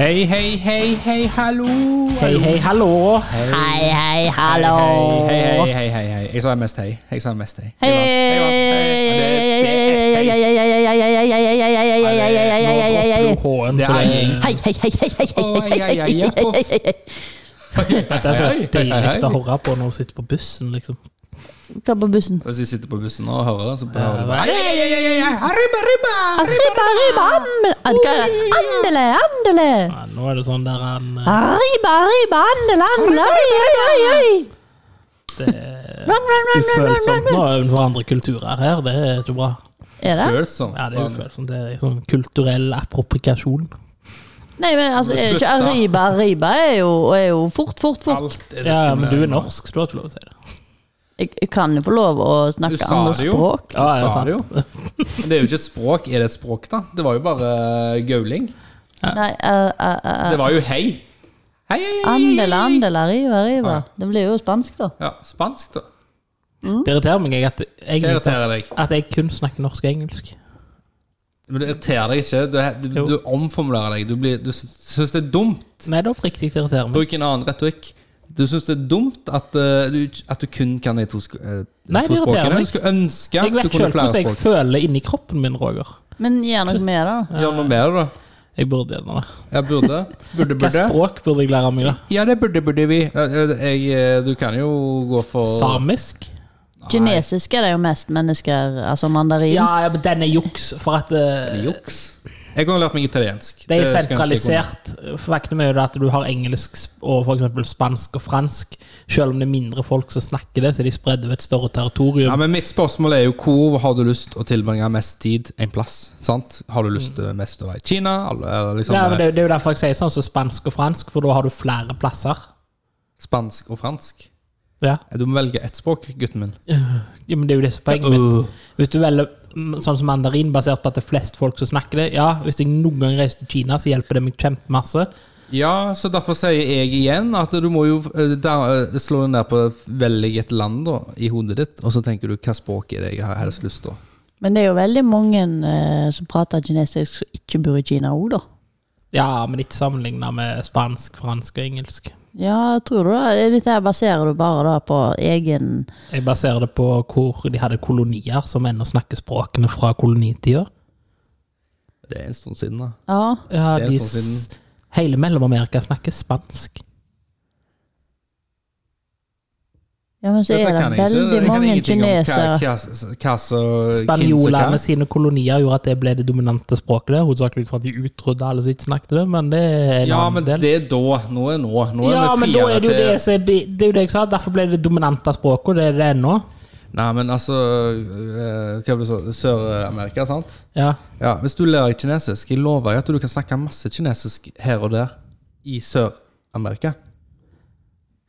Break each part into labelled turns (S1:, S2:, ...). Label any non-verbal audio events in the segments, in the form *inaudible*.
S1: Hei, hei, hei, hei, hallo.
S2: Hei, hei, hallo.
S3: Hei, hei, hallo.
S1: Hei, hei, hei, hei, hei, hei. Jeg sa mest hei. Jeg sa mest hei.
S3: Hei,
S1: Jeg vant. Jeg vant. Hei. Det er- det er ett hei. Det er ei. Hei, hei,
S2: Nå roper du H-en, så det- Dette er så
S3: hei,
S2: deilig å
S1: hei.
S2: høre på når du sitter på bussen, liksom.
S3: Hva på bussen?
S1: Hvis de sitter på bussen og hører, så hører de
S2: Ja,
S1: bare hei, hei, hei, hei, hei. Arriba, arriba.
S3: Arriba, arriba, am- Adgar, andele, andele.
S2: Ja, nå er det sånn der han
S3: Ah,
S2: eh,
S3: Arriba, arriba, andele, andele. Oi, oi, oi, oi.
S2: Det er
S3: Run, run, run, run, run, run,
S2: ufølsomt
S3: run.
S2: nå overfor andre kulturer her. Det er ikke bra.
S3: Er det?
S1: Føles sånn.
S2: Ja, det er ufølsomt. Det er sånn kulturell appropriasjon.
S3: Nei, men altså, er det ikke
S1: Slutta.
S3: arriba, arriba er jo, er jo fort, fort, fort.
S1: Alt er
S2: Ja, men du er
S1: diskriminerende.
S2: norsk, så du har ikke lov å si det.
S3: Jeg, jeg kan jo få lov å
S1: Du
S3: snakke
S1: sa
S3: andre
S1: det jo.
S3: språk.
S2: Ja,
S1: Du
S2: ja,
S1: sa
S2: sant.
S1: det jo. Men Det er jo ikke et språk. Er det et språk, da? Det var jo bare eh, gauling.
S3: Nei, uh, uh, uh,
S1: Det var jo hei. Hei, hei, hei, hei.
S3: Andel, andel, arriva, arriva.
S1: Ja.
S3: Det blir jo spansk, da.
S1: Ja, spansk, da.
S2: *laughs* Det irriterer meg jeg, at,
S1: Hva
S2: jeg,
S1: irriterer deg?
S2: at jeg kun snakker norsk og engelsk.
S1: Men det irriterer deg ikke. Du, du,
S2: Jo.
S1: du omformulerer deg. Du, blir, du sy- syns det er dumt.
S2: Nei, det er oppriktig irriterer meg.
S1: Bruk en annen retorikk. Du syns det er dumt at, eh, du, at du kun kan de to, sk eh,
S2: Nei,
S1: to
S2: det irriterer
S1: språkene.
S2: meg.
S1: Du skulle ønske
S2: Jeg
S1: at du
S2: vet
S1: kunne
S2: sjøl
S1: flere
S2: hvordan jeg
S1: språk.
S2: føler inni kroppen min, Roger.
S3: Men gjør noe med det, da.
S1: Gjør noe med det, da.
S2: Jeg burde gjerne det.
S1: Jeg burde. Burde,
S2: Hva
S1: burde.
S2: språk *laughs* burde jeg lære meg, da?
S1: Ja, det burde, burde vi. Jeg, jeg, du kan jo gå for
S2: Samisk?
S3: Kinesisk er det jo mest mennesker, altså mandarin.
S2: Ja, ja, men den er juks, for at eh,
S1: Juks. Jeg kunne lært meg italiensk.
S2: det er
S1: skulle jeg ønske jeg kunne.
S2: sentralisert. Faktum er jo det at du har engelsk sp- og for eksempel spansk og fransk. Selv om det er mindre folk som snakker det, så er de spredd over et større
S1: Ja,
S2: territorium.
S1: men Mitt spørsmål er jo hvor har du lyst å tilbringe mest tid en plass? sant? Har du lyst til mest å være i Kina? Eller, eller liksom
S2: Ja, men det, er jo- det er jo derfor jeg sier sånn som spansk og fransk, for da har du flere plasser.
S1: spansk og fransk?
S2: Ja,
S1: Du må velge ett språk, gutten min.
S2: ja men det er jo det som er poenget mitt.
S1: uh.
S2: Hvis du velger mm, sånn som mandarin, basert på at det er flest folk som snakker det Ja, hvis jeg noen gang reiser til Kina, så hjelper det meg kjempemasse.
S1: Ja, så derfor sier jeg igjen at du må jo eh, der, eh, slå den der på velg et land da, i hodet ditt, og så tenker du hva språk er det jeg har helst lyst til?
S3: Men det er jo veldig mange eh, som prater kinesisk som ikke bor i Kina òg, da.
S2: Ja, men ikke sammenligna med spansk, fransk og engelsk.
S3: Ja, tror du det? Dette her baserer du bare da på egen
S2: Jeg baserer det på hvor de hadde kolonier som ennå snakker språkene fra kolonitida.
S1: Det er en stund siden, da.
S3: Ja.
S2: Ja,
S1: Det er
S2: de
S1: sånn siden-
S2: s hele Mellom-Amerika snakker spansk.
S3: ja men så
S1: Dette
S3: er
S1: kan
S3: det
S1: jeg ikke.
S3: veldig
S1: Jeg kan
S3: mange
S1: ingenting om hva-
S3: kinesere
S1: hva- hva som- hvem
S2: Spanjolene
S1: som
S2: sine kolonier gjorde at det ble det dominante språket der, hovedsakelig ut fra at de utrydda alle som ikke snakket det, men det er
S1: kan.
S2: en
S1: Ja, men
S2: annen del.
S1: det er da. Nå er nå. Nå er
S2: Ja,
S1: vi
S2: men da
S1: friere
S2: er det jo
S1: til
S2: det, som er, bi- det er jo det jeg sa, derfor ble det det dominante språket, og det er det ennå.
S1: Nei, men altså eh, Hva var det du sa? Sør-Amerika, sant?
S2: Ja.
S1: Ja, Hvis du lærer kinesisk, jeg lover deg at du kan snakke masse kinesisk her og der i Sør-Amerika.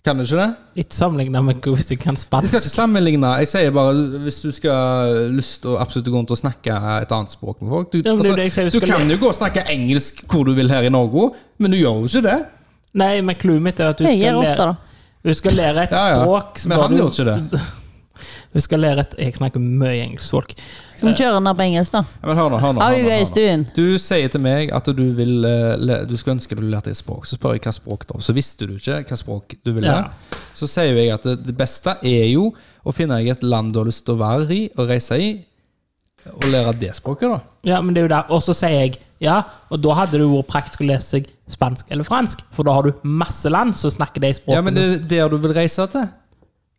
S1: Kan du ikke det?
S2: Ikke sammenligna med hvor- hvis jeg kan
S1: Jeg skal *laughs*
S2: spansk.
S1: ikke sammenligne. Jeg sier bare hvis du skal ha lyst til å absolutt gå rundt og snakke et annet språk med folk Du, altså,
S2: Ja, men det er jo det jeg sier,
S1: du
S2: du skal
S1: kan jo gå og snakke engelsk hvor du vil her i Norge, men du gjør jo ikke det.
S2: Nei, men clouet mitt er at du
S3: Jeg
S2: skal,
S3: gjør
S2: lære,
S3: ofte, da.
S2: du skal lære et
S1: Ja, ja.
S2: språk så
S1: Men
S2: bør
S1: han
S2: du-
S1: gjør ikke det.
S2: Vi skal lære et Jeg snakker mye engelsk folk.
S3: Skal vi kjøre den her på engelsk, da?
S1: Ja, men hør nå, hør nå,
S3: How
S1: hør nå,
S3: you guys
S1: hør nå.
S3: doing?
S1: Du sier til meg at du vil eh, læ- Du skulle ønske du lærte et språk. Så spør jeg hva språk da Så visste du ikke hva språk du ville.
S2: Ja.
S1: Så sier jeg at det, det beste er jo å finne deg et land du har lyst til å være i og reise i, og lære det språket, da.
S2: Ja, men det er jo der. Og så sier jeg ja, og da hadde det jo vært praktisk å lese seg spansk eller fransk, for da har du masse land som snakker de språkene.
S1: Ja, men det er der du vil reise til.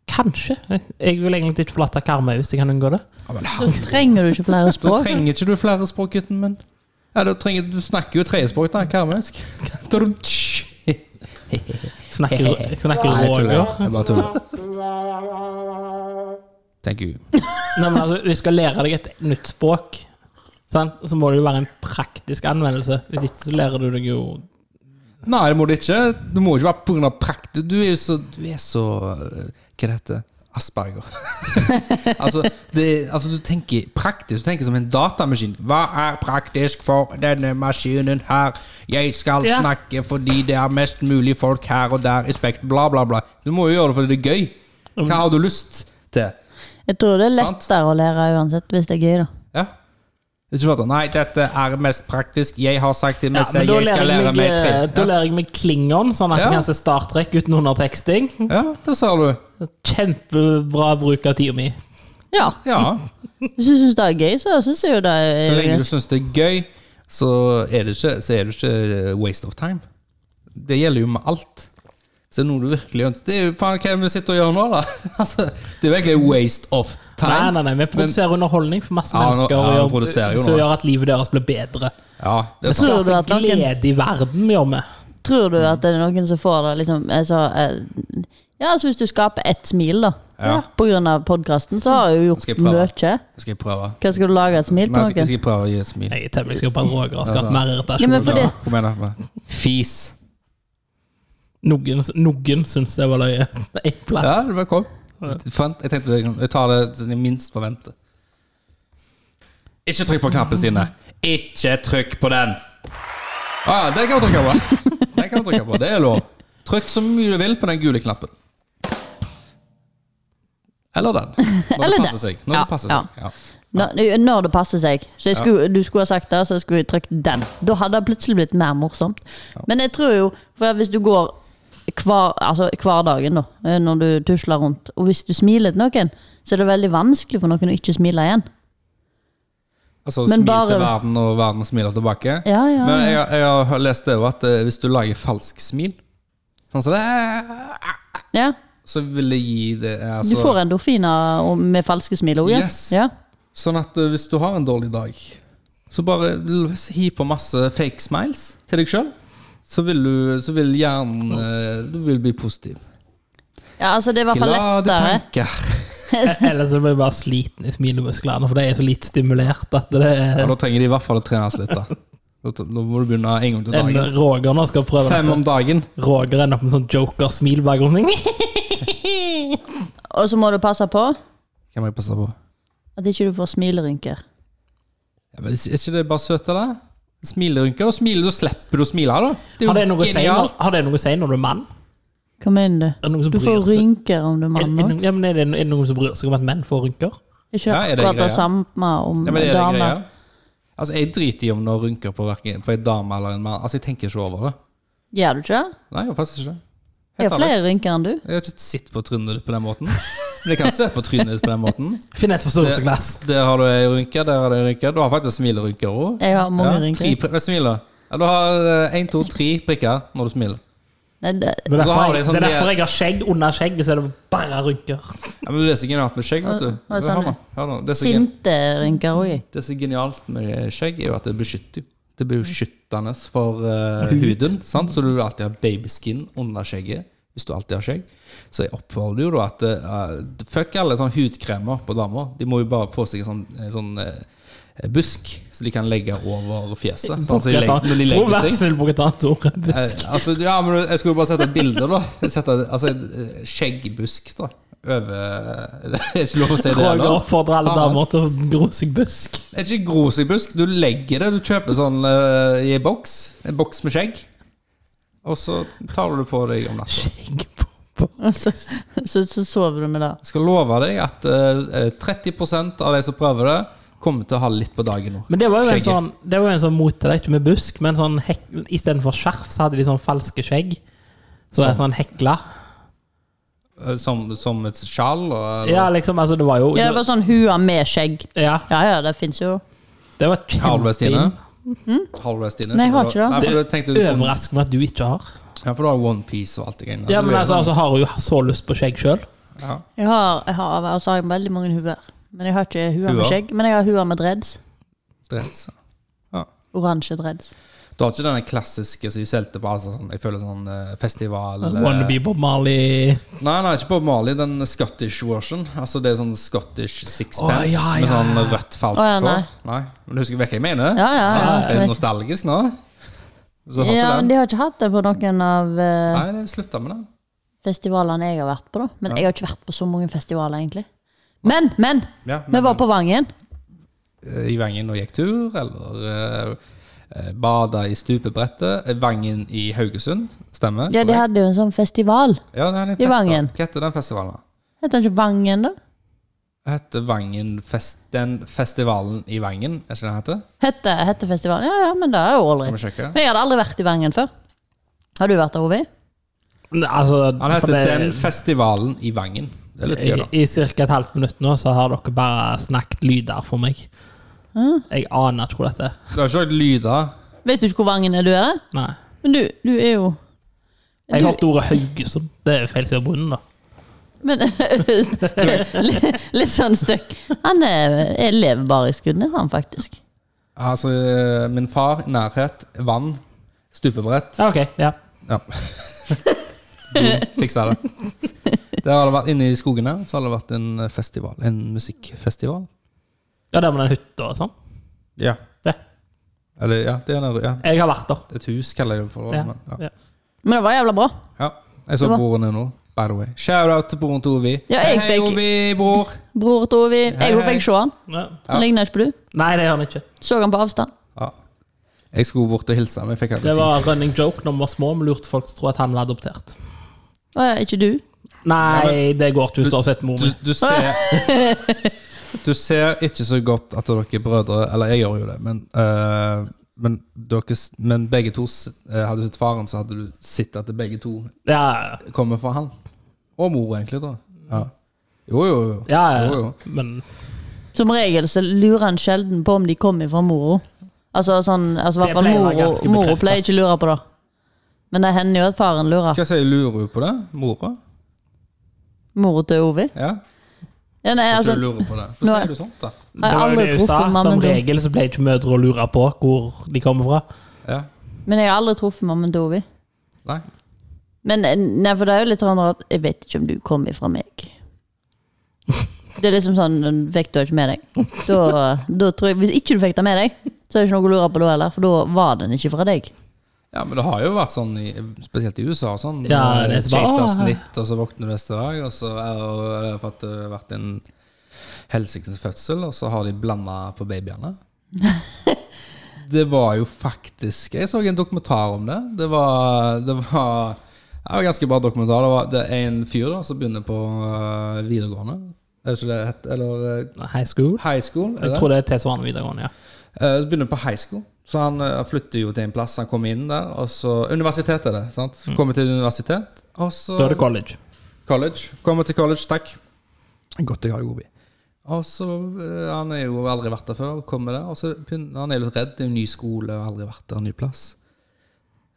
S2: Kanskje. Jeg vil egentlig ikke forlate Karmøy hvis jeg kan unngå det.
S1: Ja, men
S3: Da trenger du ikke flere
S1: Da
S3: språk.
S1: trenger ikke du flere språk, gutten min. Ja, da trenger, du snakker jo trespråk, da. Karmøysk. *laughs*
S2: Snakker, jeg snakker
S1: Nei, jeg tuller.
S2: Roger.
S1: Jeg bare tuller. Thank you.
S2: Nei, men altså, vi skal lære deg et nytt språk, sant? så må det jo være en praktisk anvendelse. Hvis ikke så lærer du deg jo
S1: Nei, det må det ikke. Du må ikke være pga. prakt. Du er jo så, du er så eh, Hva det heter Asperger. *laughs* altså, det, altså, du tenker praktisk. Du tenker som en datamaskin. Hva er praktisk for denne maskinen her? Jeg skal
S2: Ja.
S1: snakke fordi det er mest mulig folk her og der i spekt. Bla, bla, bla. Du må jo gjøre det fordi det er gøy.
S2: Mm.
S1: Hva har du lyst til?
S3: Jeg tror det er
S1: Sant.
S3: lettere å lære uansett, hvis det er gøy, da.
S1: Ja. Ikke bare, Nei, dette er mest praktisk. Jeg har sagt til meg
S2: Ja, men
S1: selv
S2: da
S1: jeg skal
S2: lærer jeg
S1: lære
S2: meg,
S1: meg
S2: eh,
S1: tre.
S2: da
S1: Ja.
S2: lærer jeg meg klingon, sånn at
S1: Ja.
S2: jeg kan se Star Trek uten underteksting.
S1: ja, det ser du.
S2: Kjempebra bruk av tida mi.
S3: Ja.
S1: Ja.
S3: Hvis du syns det er gøy, så syns jeg jo det er
S1: Så lenge du syns det er gøy, så er det ikke, så er det ikke waste of time. Det gjelder jo med alt. Så er det noe du virkelig ønsker Det er jo faen hva er det vi sitter og gjør nå, da? *laughs* Altså, det er virkelig waste of time.
S2: Nei, nei, nei, vi produserer underholdning for masse
S1: Ja, nå-
S2: mennesker
S1: ja, vi
S2: og gjør,
S1: produserer jo
S2: som
S1: nå.
S2: gjør at livet deres blir bedre.
S1: Ja, det er sant.
S3: Tror
S2: Tror
S3: du at noen-
S2: glede i verden vi gjør med.
S3: Tror du
S1: Mm.
S3: at det er noen som får det liksom eh, så, eh, Ja, altså hvis du skaper ett smil, da.
S1: Ja.
S3: På grunn av podkasten, så har jeg jo
S1: Skal jeg
S3: gjort mye.
S1: prøve?
S3: Hva
S1: Skal jeg prøve?
S3: skal du lage et smil
S1: Men
S3: på
S1: jeg skal, jeg
S3: noen?
S1: skal prøve å gi et smil.
S2: Jeg er temmelig sikker på at Roger har skapt
S1: Altså.
S2: mer
S3: Ja,
S2: irritasjon.
S3: men fordi,
S1: Kom igjen, da. Fis.
S2: Noen, noen syns det var løye. *laughs* En
S1: Ja,
S3: *laughs*
S2: plass.
S1: det var kom. Fant- Jeg tenkte jeg tar det som jeg minst forventer. Ikke trykk på knappen, Stine. Ikke trykk på den! Ah, den kan du trykke på. Den kan du trykke på, Det er lov. Trykk så mye du vil på den gule knappen. Eller den. Når det
S3: Eller den.
S1: passer seg. Når
S3: Ja,
S1: det passer
S3: ja.
S1: seg. Ja.
S3: når, når det passer seg. Så jeg skulle, Du skulle ha sagt det, så jeg skulle jeg trykt den. Da hadde det plutselig blitt mer morsomt. Men jeg tror jo, for hvis du går hver, altså, hverdagen da, eh, når du tusler rundt, og hvis du smiler til noen, så er det veldig vanskelig for noen å ikke smile igjen.
S1: Altså
S3: Men
S1: smil
S3: bare-
S1: til verden, og verden smiler tilbake.
S3: Ja, ja,
S1: Men jeg, jeg har lest det jo at eh, hvis du lager falsk smil, sånn som det er,
S3: Ja,
S1: så vil det gi det
S3: Du
S1: altså,
S3: får endorfiner og- med falske smil òg.
S1: Yes.
S3: Ja.
S1: Sånn at eh, hvis du har en dårlig dag, så bare l- hi på masse fake smiles til deg sjøl. Så vil du så vil hjernen eh, Du vil bli positiv.
S3: ja, altså det er i hvert fall
S1: Glade
S3: lettere.
S1: tanker.
S2: Ellers så blir jeg bare sliten i smilemusklene, for de er så litt stimulert at det
S1: Ja,
S2: er
S1: da trenger de i hvert fall å trenes litt, da. Da t- Da må du begynne en gang til
S2: en
S1: dagen.
S2: Roger nå skal prøve
S1: Fem
S2: dette.
S1: om dagen.
S2: Roger ender opp med sånn joker-smil bak om
S3: Og så må du passe på
S1: Hvem må jeg passe på?
S3: at ikke du får smilerynker.
S1: Ja, men er ikke det bare søte, da? Smilerynker. Da smiler, da slipper du å smile, da. Det er jo
S2: *laughs* Har det noe å si når,
S1: genialt.
S2: har det noe å si når du er mann?
S3: Hva mener
S2: Er det noen
S3: du?
S2: som
S3: Du
S2: bryr
S3: får
S2: seg?
S3: rynker om du er
S2: Er,
S3: mann
S2: er,
S3: òg.
S2: ja, men er, det, er det noen som bryr seg om at menn får rynker?
S3: Ikke
S1: Ja, er det
S3: akkurat det
S1: greia?
S3: samme om
S1: Ja, men er det greia?
S3: damer.
S1: Altså, jeg driter i om det rynker på, hverken- på en dame eller en mann. Altså, jeg tenker ikke over det.
S3: Gjør du ikke det?
S1: Nei, jeg gjør faktisk ikke det.
S3: Jeg
S1: Helt
S3: har
S1: ærlig.
S3: flere rynker enn du.
S1: Jeg har ikke sett på trynet ditt på den måten. Men jeg kan se på trynet ditt på den måten.
S2: Finn et forstørrelsesglass.
S1: Der har du ei rynke, der har du ei rynke. Du har faktisk smilerynker òg.
S3: Jeg har mange rynker.
S1: eh, smiler. Ja, du har én, to, tre prikker når du smiler.
S3: Nei, det,
S2: Det er
S1: Så
S2: derfor,
S1: har
S2: jeg,
S1: de sånn
S2: det er
S1: de-
S2: derfor jeg har skjegg under skjegg, så er det bare rynker.
S1: Ja, men Det er så genialt med skjegg, vet du.
S3: Hva er det sånn?
S1: Hør nå, hør nå. Det, er så gen-
S3: sinte rynker òg.
S1: det er så genialt med skjegg, er jo at det beskytter. jo. Det blir beskyttende for eh, huden, sant? så du vil alltid ha babyskin under skjegget. Hvis du alltid har skjegg. Så jeg oppfordrer jo da at eh, Fuck alle sånne hudkremer på damer. De må jo bare få seg en sånn, en sånn eh, busk som de kan legge over *laughs* fjeset. Sånn, så de legger, når de
S2: Å,
S1: legger
S2: Vær
S1: seg.
S2: så snill, bruk et annet ord. enn
S1: Eh,
S2: Busk.
S1: altså, ja, men jeg skulle jo bare sette et bilde, da. Sette, altså et eh, skjeggbusk, da. Over *laughs* Det er ikke lov å si det
S2: Roger
S1: heller.
S2: oppfordrer alle
S1: Faen.
S2: damer til å gro seg busk.
S1: Det er ikke gros i busk. Du legger det. Du kjøper sånn eh, i en boks. En boks med skjegg. Og så tar du det på deg om natta.
S2: Skjegg på, på.
S3: Så, *laughs* så, så sover du med det.
S1: Jeg skal love deg at eh, eh, 30 av de som prøver det, kommer til å ha litt på dagen nå.
S2: Men det var jo en
S1: Skjegget.
S2: sånn, det var jo en sånn mot til deg, ikke med busk, men sånn hek, istedenfor skjerf så hadde de sånn falske skjegg. Så var det sånn hekla.
S1: Eh, Som, som et skjall? og- eh,
S2: Ja, liksom, altså det var jo
S3: Ja, det var sånn hua med skjegg.
S2: Ja,
S3: Ja ja, det fins jo.
S2: det var
S1: Har du det, Stine?
S2: kjempeinn.
S1: Har du det, Stine?
S3: Mhm. Nei, jeg har
S1: eh? Så
S3: ikke
S1: Nei,
S3: det.
S1: for du tenkte,
S2: Overraskende at du ikke har.
S1: ja, for du har onepiece og alt det greiene.
S2: Ja,
S1: Du
S2: men
S1: er
S2: altså,
S1: sånn-
S2: altså har hun jo så lyst på skjegg sjøl.
S1: ja.
S3: Jeg har, jeg har, og så har jeg veldig mange huer. Men jeg har ikke hua med
S1: Huer?
S3: skjegg. Men jeg har hua med dreads.
S1: Dreads.
S3: Oransje dreads.
S1: Du har ikke denne klassiske som de solgte på altså, sånn, jeg føler sånn eh, festival
S2: Wannabe Bob Marley.
S1: Nei, nei, ikke på Mali. Den Scottish version. Altså det er sånn Scottish sixpence
S2: Å, ja,
S1: med
S2: ja,
S1: sånn rødt falskt
S3: Å, ja,
S1: hår.
S3: nei.
S1: Nei. Men du husker hva jeg mener?
S3: Ja ja. ja,
S1: Ah, Er
S3: jeg
S1: det
S3: vet.
S1: nostalgisk nå? Så har sånn?
S3: ja
S1: ikke den.
S3: men de har ikke hatt det på noen av eh,
S1: Nei, det slutta med den.
S3: festivalene jeg har vært på. da Men jeg har ikke vært på så mange festivaler, egentlig. Men, men!
S1: Ja,
S3: Vi var på Vangen.
S1: eh, I Vangen og gikk tur, eller uh, bada i stupebrettet. Eh, Vangen i Haugesund, stemmer?
S3: Ja, de
S1: korrekt?
S3: hadde jo en sånn festival.
S1: ja, det hadde en
S3: i
S1: fest da.
S3: Vangen.
S1: Hva heter den festivalen?
S3: Heter den ikke Vangen, da?
S1: heter Vangen fest, den festivalen i Vangen? Er ikke det den heter?
S3: Hette, hettefestival. Ja, ja, men det er jo
S1: Skal vi
S3: ålreit.
S1: sjekke?
S3: Men jeg hadde aldri vært i Vangen før. Har du vært der, Ovi?
S2: Nei, Altså,
S1: Han
S2: for
S1: heter
S2: det-
S1: Den festivalen i Vangen. Det er litt gøy, da.
S2: I, i ca. et halvt minutt nå så har dere bare snakket lyder for meg.
S3: Ah.
S2: Jeg aner ikke hvor dette er.
S1: Det har ikke vært lyder.
S3: Vet du ikke hvor Vangen er, du er det?
S2: Nei.
S3: Men du, du er jo
S2: Jeg
S3: Du-
S2: hørte ordet Haugesund. Det er feil side av bunnen, da.
S3: Men *laughs* litt, litt sånn støkk. Han er, er lever bare i Skudenes, han faktisk.
S1: Altså, min far, nærhet, vann, stupebrett.
S2: Ja, ok, ja.
S3: *laughs*
S1: Ja. Boom, Fiksa det. Der har det vært Inne i skogene så har det vært en festival. En musikkfestival.
S2: Ja, der med den hytta og sånn.
S1: Ja.
S2: Det.
S1: Eller ja, det er en, ja.
S2: Jeg har vært der.
S1: Et hus, kaller jeg det for.
S2: Ja.
S1: Men, Sånn, ja.
S2: Ja.
S3: Men det var jævla bra.
S1: Ja. Jeg så
S3: Det var-
S1: broren din nå, by the way. Shout-out til broren til Ovi.
S3: Ja, jeg
S1: Hei,
S3: fikk-
S1: Ovi, bror.
S3: Bror til Ovi. Jeg
S1: hei.
S3: fikk se han.
S2: Ja.
S1: Ja.
S3: Han ligner ikke på du.
S2: Nei, det gjør han ikke.
S3: Så han på avstand.
S1: Ja. Jeg skulle bort og hilse, men jeg fikk aldri
S2: Det
S1: tid.
S2: var running joke når vi var små. Vi lurte folk til å tro at han var adoptert.
S3: Å ja, ikke du?
S2: Nei, det går ikke. Hun står og sitter med
S1: Du,
S2: mor mi.
S1: du ser Du ser ikke så godt at dere er brødre Eller jeg gjør jo det, men eh, men, dere, s- men begge to s- eh, Hadde du sett faren, så hadde du sett at begge to
S2: Ja,
S1: kommer fra han. Og mor, egentlig, da. Ja. Jo, jo, jo.
S2: ja,
S1: Jo,
S2: ja.
S1: jo.
S2: Men
S3: Som regel så lurer han sjelden på om de kommer fra mora. Altså sånn, altså i
S2: Det
S3: hvert fall
S2: pleier å være
S3: mora
S2: ganske
S3: mora
S2: bekreftet.
S3: pleier ikke å lure på det. Men det hender jo at faren lurer.
S1: Hva sier lurer du på det? Mora?
S3: Mora til Ovi.
S1: Ja?
S3: Ja, nei,
S1: Hva
S3: altså,
S1: sier du lurer på det?
S3: nå
S1: Hvorfor sier
S3: er-
S1: du sånt, da?
S3: jeg har
S2: det
S3: aldri
S2: var jo det hun sa.
S3: truffet
S2: Som
S3: mammen til
S2: regel så ble ikke mødre å lure på hvor de kommer fra.
S1: Ja.
S3: Men jeg har aldri truffet mammen til Ovi.
S1: Nei.
S3: Men eh, nei, for det er jo litt sånn at jeg vet ikke om du kom ifra
S2: *laughs*
S3: meg. Det er liksom sånn den Fikk du ikke med deg? Da, da tror jeg, Hvis ikke du fikk det med deg, så er det ikke noe å lure på da heller, for da var den ikke fra deg.
S1: Ja, men det har jo vært sånn, i, spesielt i USA, og sånn.
S2: Ja,
S1: Når
S2: det er så bare,
S1: chaser
S2: «Åh!»
S1: snitt, og så våkner du neste dag, og så er det for at det har vært en helsikens fødsel, og så har de blanda på
S2: *laughs*
S1: babyene. det var jo faktisk Jeg så en dokumentar om det. Det var, det var det var en ganske bra dokumentar. Det, var, det er en fyr da som begynner på øh, videregående. Er det ikke det det heter? Eller øh,
S2: High school.
S1: high school? er
S2: Jeg
S1: det?
S2: tror det er tilsvarende videregående, ja.
S1: Eh, Så begynner han på high school. Så han eh, flytter jo til en plass. Han kommer inn der. Og så Universitet er det. sant? Kommer til universitet, og så
S2: Mm. Da er det college.
S1: college. Kommer til college, takk. Godt jeg har det god i. Og så eh, Han er jo aldri vært der før. Kommer der, og så begynner, Han er litt redd. Det er jo ny skole, og aldri vært der, ny plass.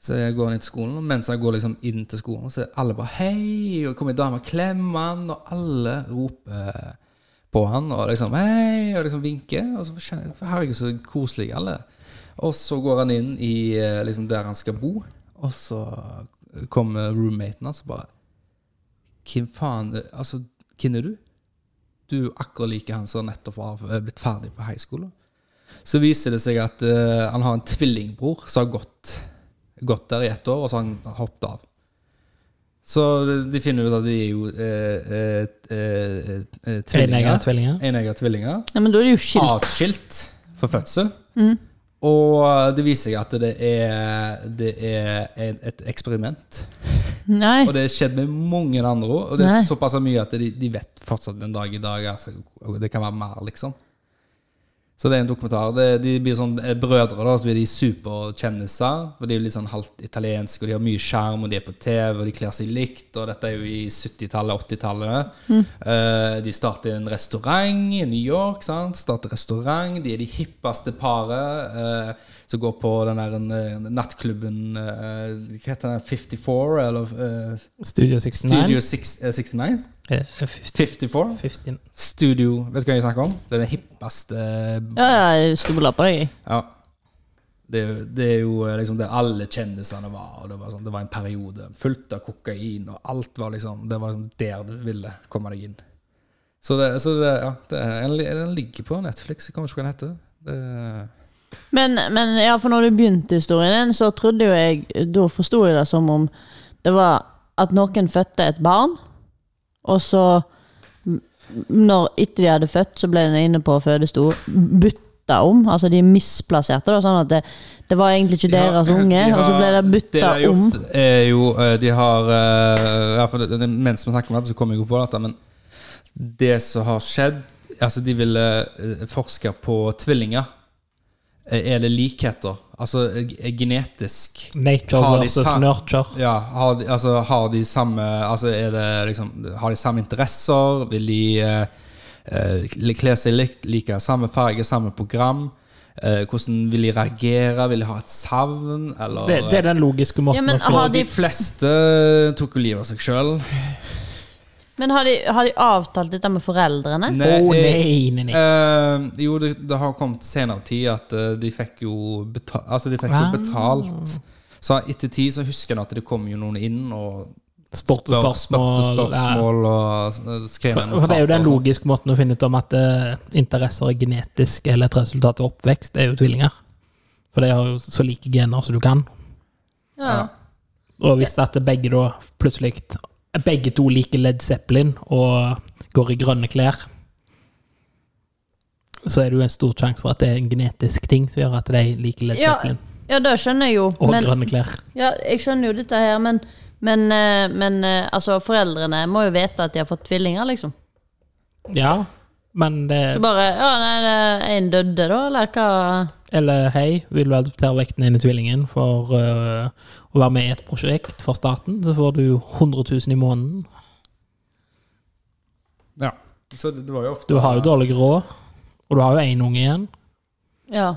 S1: Så jeg går inn til skolen, og mens han går liksom inn til skolen, så er alle bare 'hei', og kommer en dame og klemmer han, og alle roper eh, på han, og liksom 'hei', og liksom vinker. Og så skjønner jeg, herregud, så koselige alle er. Og så går han inn i eh, liksom der han skal bo, og så kommer roommaten hans og bare 'Hvem faen eh, Altså, hvem er du?' Du er jo akkurat like han som nettopp har eh, blitt ferdig på high school. Så viser det seg at eh, han har en tvillingbror som har gått gått der i ett år, og så har han hoppet av. Så de finner ut at de er jo eh, eh, eh, eh,
S2: Enegger,
S1: tvillinger.
S2: tvillinger.
S1: Enegger tvillinger.
S3: Ja, men da er det jo skilt.
S1: Atskilt for fødsel. Og eh, det viser seg at det er, det er et, et eksperiment.
S2: Ah.
S3: Nei.
S1: Og det har skjedd med mange andre òg. Og det
S3: Nei.
S1: er såpass mye at de, de vet fortsatt den dag i dag. Altså, og det kan være mer, liksom. Så det er en dokumentar. Det, de blir sånn eh, brødre, da, så blir de superkjendiser. For de er jo litt sånn halvt italienske, og de har mye skjerm, og de er på TV, og de kler seg likt. Og dette er jo i 70-tallet, 80-tallet. Eh, de starter en restaurant i New York. Sant? Starter restaurant. De er de hippeste paret eh, som går på den der eh, nattklubben eh, Hva heter den? 54? Eller eh,
S2: Studio 69.
S1: Studio 6, eh, 69?
S2: Eh, 50,
S1: 54?
S2: 15.
S1: Studio Vet du hva jeg snakker om? Det er den hippeste eh,
S3: Ja, ja, jeg stoler på deg, jeg.
S1: Ja. Det, er jo- det er jo eh, liksom det alle kjendisene var. Og det, var sånn, det var en periode fullt av kokain, og alt var liksom Det var liksom der du ville komme deg inn. Så det, så det ja, det er, den li- den ligger på Netflix. Jeg kommer ikke på hva den heter. Det,
S3: Men, men ja, for når du begynte historien din, så trodde jo jeg Da forsto jeg det som om det var at noen fødte et barn, og så m- når Etter de hadde født, så ble den inne på fødestua bytta om. Altså de misplasserte det, sånn at det, det var egentlig ikke
S1: Ja,
S3: deres
S1: de
S3: unge,
S1: har-
S3: og så ble det
S1: det de
S3: bytta
S1: har
S3: om.
S1: gjort, er jo eh, De har eh, ja, for det, det, Mens vi snakker om dette, så kommer jeg jo på dette, men det som har skjedd, Altså, de ville eh, forske på tvillinger. Eh, Er det likheter? Altså eh, genetisk.
S2: Nature
S1: Har de
S2: versus
S1: sa-
S2: nurture.
S1: Ja, har de, altså, har de samme altså, er det, liksom, Har de samme interesser? Vil de eh, eh, kle seg likt? Like samme farge, samme program? Eh, hvordan vil de reagere? Vil de ha et savn? Eller
S2: Det, det er den logiske måten
S3: Ja, men
S2: å få
S3: har
S1: Og de fleste tok jo livet av seg sjøl.
S3: Men har de, har de avtalt dette med foreldrene?
S2: Å nei, nei, nei.
S1: Eh, jo, det, det har kommet senere tid at eh, de fikk jo, beta altså, de fikk jo
S2: Ah.
S1: betalt. Så etter tid så husker en at det kom jo noen inn og
S2: Sportspørsmål.
S1: spør- spørsmål og s- skrev
S2: eh, For, for det er jo
S1: notater og sånn.
S2: den
S1: sånt.
S2: logiske måten å finne ut om at eh, interesser er genetisk eller et resultat av oppvekst, er jo tvillinger. For de har jo så like gener som du kan.
S3: Ja.
S2: Og hvis at begge da plutselig Begge to liker Led Zeppelin og går i grønne klær, så er det jo en stor sjanse for at det er en genetisk ting som gjør at de liker Led
S3: Ja,
S2: Zeppelin
S3: ja, det skjønner jeg jo.
S2: og
S3: Men,
S2: grønne klær.
S3: ja, jeg skjønner jo dette her, men, men, eh, men eh, altså, foreldrene må jo vite at de har fått tvillinger, liksom.
S2: Ja, men det
S3: Så bare Ja, nei, det- en døde, da, eller hva?
S2: Eller hei, vil du adoptere vekten din i tvillingen for øh, å være med i et prosjekt for staten, så får du 100 000 i måneden.
S1: Ja. Så det, det var jo ofte
S2: Du har jo dårlig råd, og du har jo én unge igjen.
S3: Ja.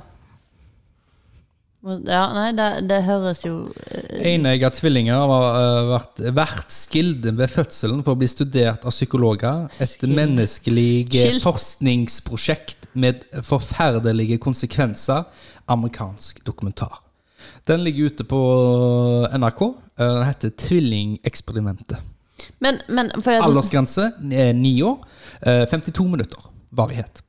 S3: Ja, nei, det, det høres jo eh,
S1: Enegga tvillinger har eh, vært, vært skilde ved fødselen for å bli studert av psykologer. Et menneskelig
S3: Skilt.
S1: forskningsprosjekt med forferdelige konsekvenser. Amerikansk dokumentar. Den ligger ute på NRK. Eh, Den heter 'Tvillingeksperimentet'.
S3: Men, men for, jeg,
S1: Aldersgrense er ni år. eh, 52 minutter varighet.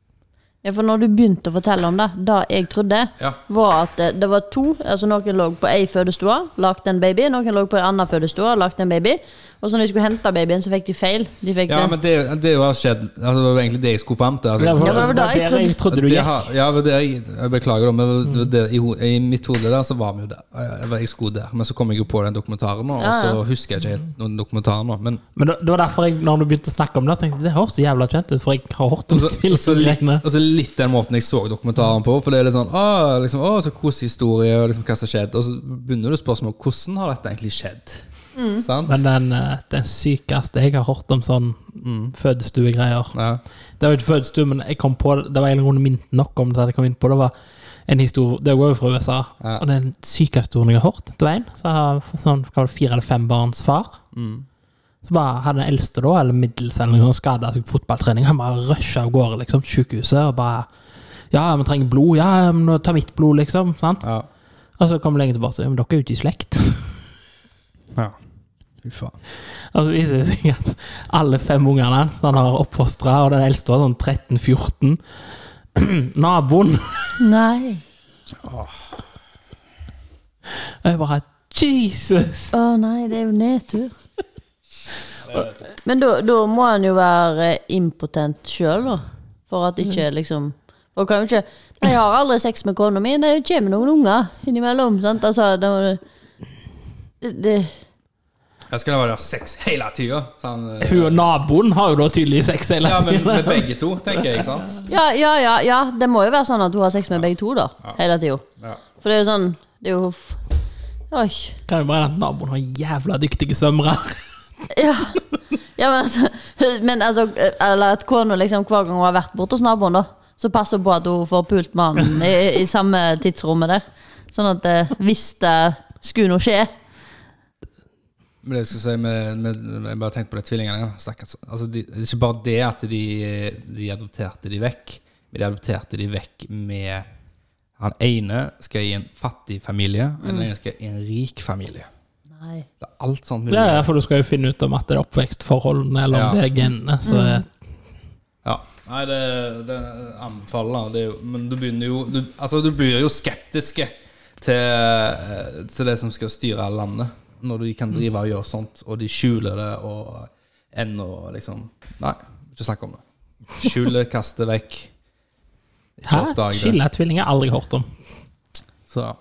S3: ja, for når du begynte å fortelle om det, det jeg trodde,
S1: Ja.
S3: var at det, det var to altså Noen lå på ei fødestue, lagde en baby. Noen lå på ei anna fødestue, lagde en baby. Og så når de skulle hente babyen, så fikk de feil. De fikk
S1: Ja,
S3: det.
S1: men det, det har skjedd altså, Det var jo egentlig det jeg skulle fram til. Altså,
S2: Det var,
S3: Ja, men
S2: det
S3: for
S2: var
S3: da, jeg
S2: der jeg trodde du
S1: Det
S2: gikk.
S1: har- ja, men det, jeg, jeg beklager, da, men det, det, i, ho- i mitt hode der så var vi jo der. Jeg, jeg skulle der, men så kom jeg jo på den dokumentaren, nå, og så husker jeg ikke helt noen dokumentarer nå. Men
S2: Men det det var derfor jeg, når du begynte å snakke om det, tenkte jeg, det høres så jævla kjent ut, for jeg har hørt om
S1: så, så litt,
S2: tvillinger.
S1: altså litt den måten jeg så dokumentaren på, for det er litt sånn Å, liksom, å så koselig historie, og liksom, hva som har skjedd. Og så begynner du spørsmålet hvordan har dette egentlig skjedd? Sant?
S2: Men den, øh, den sykeste jeg har hørt om sånn
S1: Mm.
S2: fødestuegreier
S1: ja.
S2: Det var ikke fødestue, men jeg kom på det var en grunn minnet nok om det. at jeg kom inn på Det var en historie, det går jo fra USA,
S1: Ja.
S2: og den sykeste historien jeg har hørt Det var en som har fått sånn, hva var det, fire eller fem barns far. Så bare hadde den eldste, da, eller middels, eller noe, skada seg på fotballtrening. Han bare rusha av gårde liksom, til sykehuset og bare Ja, vi trenger blod. Ja, men nå ta mitt blod, liksom. Sant?
S1: Ja.
S2: Og så kom legen tilbake og sa ja, men dere er ute i slekt. *laughs*
S1: ja. Fy faen.
S2: Og så viser det seg at alle fem ungene hans han har oppfostra, og den eldste var sånn 13-14. *clears throat* Naboen
S3: Nei.
S2: Og jeg bare Jesus!
S3: Å nei, det er jo nedtur. Men da da må han jo være eh, impotent sjøl, da. For at ikke liksom Og kan jo ikke Nei, Jeg har aldri sex med kona mi. Det kommer noen unger innimellom. sant? Altså, det, det, det
S1: Jeg skal da være der sex hele tida. Sånn, eh,
S2: Hun og naboen har jo da tydelig sex hele
S1: ja, men med
S2: tiden.
S1: begge to, tenker jeg, ikke sant?
S3: Ja, ja, ja, ja. Det må jo være sånn at du har sex med begge to, da. Hele tida.
S1: Ja.
S3: For det er jo sånn Det er jo f- Oi.
S2: Kan jo bare hende at naboen har jævla dyktige sømre.
S3: Ja. ja, men altså, men altså Eller at kona liksom hver gang hun har vært borte hos naboen, da, så passer hun på at hun får pult mannen i, i samme tidsrommet der. Sånn at eh, hvis det skulle noe skje
S1: Men det jeg skulle si med, med, Jeg bare tenkte på de tvillingene. ja. Stakkars. Altså, de, det er ikke bare det at de, de adopterte de vekk, men de adopterte de vekk med Han ene skal i en fattig familie, og
S2: Mm.
S1: den ene skal i en rik familie.
S3: Nei.
S1: Det er alt sånt mulig.
S2: Ja, ja, for du skal jo finne ut om at det er oppvekstforholdene eller om
S1: Ja.
S2: det er genene. Så
S3: Mm.
S2: er-
S1: Ja. Nei, det, det anbefaler det er jo, Men du begynner jo du, Altså, du blir jo skeptiske til, eh, til det som skal styre landet, når de
S3: Mm.
S1: kan drive og gjøre sånt, og de skjuler det, og ennå liksom Nei, ikke snakk om det.
S3: *laughs*
S1: Skjule, kaste vekk. Ikke
S2: Hæ?
S1: oppdag det.
S2: Skille tvillinger har jeg aldri hørt om.
S1: Så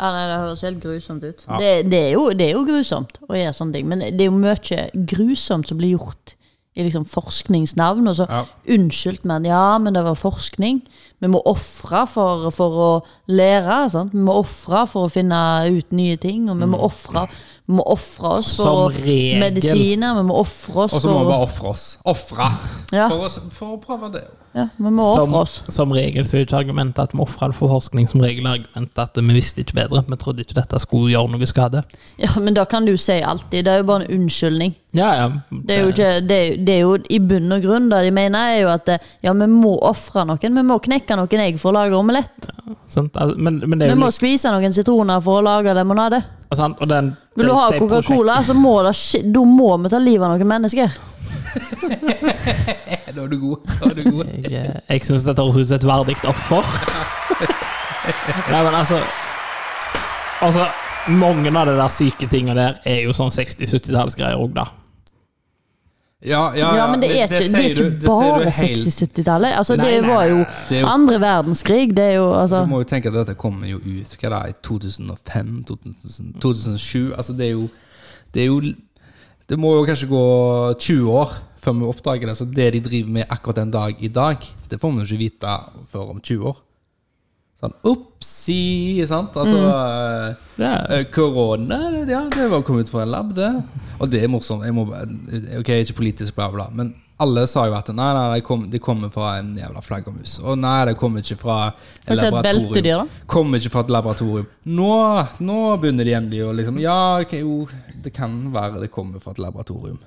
S3: Ja, nei, Det høres helt grusomt ut.
S1: Ja.
S3: Det, det, er jo, det er jo grusomt å gjøre sånne ting, men det er jo mye grusomt som blir gjort i liksom forskningsnavn, og så
S1: Ja.
S3: unnskyldt med at ja, men det var forskning. Vi må ofre for, for å lære. Sant? Vi må ofre for å finne ut nye ting, og vi
S1: Mm.
S3: må ofre Vi må ofre oss
S2: Som
S3: for
S2: regel.
S3: medisiner, vi må ofre oss
S1: Og så må vi
S3: for
S1: bare ofre oss. Ofre!
S3: Ja.
S1: For, oss- for å prøve det.
S3: ja, Vi må
S2: Som,
S3: ofre oss.
S2: som regel så er jo ikke argumentet at vi ofrer det for forskning, som regel er argumentet at vi visste ikke bedre. Vi trodde ikke dette skulle gjøre noe skade.
S3: Ja, men da kan du si alltid. Det er jo bare en unnskyldning.
S2: Ja, ja.
S3: Det er jo, ikke, det er, det er jo i bunn og grunn det de mener, er jo at eh, ja, vi må ofre noen. Vi må knekke noen egg for å lage omelett.
S2: sant? Altså, Men, men det
S3: Vi
S2: er jo
S3: må skvise noen sitroner for å lage limonade.
S2: litt- sant? Og den,
S3: Vil du
S2: det-
S3: ha
S2: det
S3: Coca-Cola, så må det skje- da må vi ta livet av noen mennesker.
S1: Eh, Da er du god. Da er du
S3: *laughs*
S1: god.
S2: prosjektet- Jeg, eh, jeg syns dette høres ut som et verdig offer.
S1: *laughs*
S2: Nei, men altså Altså, mange av de der syke tinga der er jo sånn 60-70-tallsgreier òg, da.
S1: Ja, ja,
S3: Ja, men det er ikke, det er
S1: sier du-
S3: ikke
S1: det sier du
S3: bare
S1: helt-
S3: 60-70-tallet. Altså,
S2: Nei,
S3: det
S2: nei,
S3: var jo
S2: nei,
S1: det er jo-
S3: andre verdenskrig. Det er jo altså
S1: Du må jo tenke at dette kommer jo ut Hva er det, i 2005, 2000, 2007 Altså det er jo Det, er jo, det må jo kanskje gå 20 år før vi oppdager det Så det de driver med akkurat den dag i dag Det får vi jo ikke vite før om 20 år Sånn, oppsi, sant? Altså,
S2: Det
S1: eh,
S2: er,
S1: korona, ja, det var kommet ut fra en lab, det Og det er morsomt, jeg må bare Ok, jeg er ikke politisk, bla bla, men alle sa jo at Nei, nei, det kom- det kommer fra en jævla flaggermus Og nei, det kommer ikke fra en
S3: Kanskje et
S1: laboratorium.
S3: beltedyr, da?
S1: Kom ikke fra et laboratorium. Nå, nå begynner de endelig å liksom Ja, ok, jo, det kan være det kommer fra et laboratorium.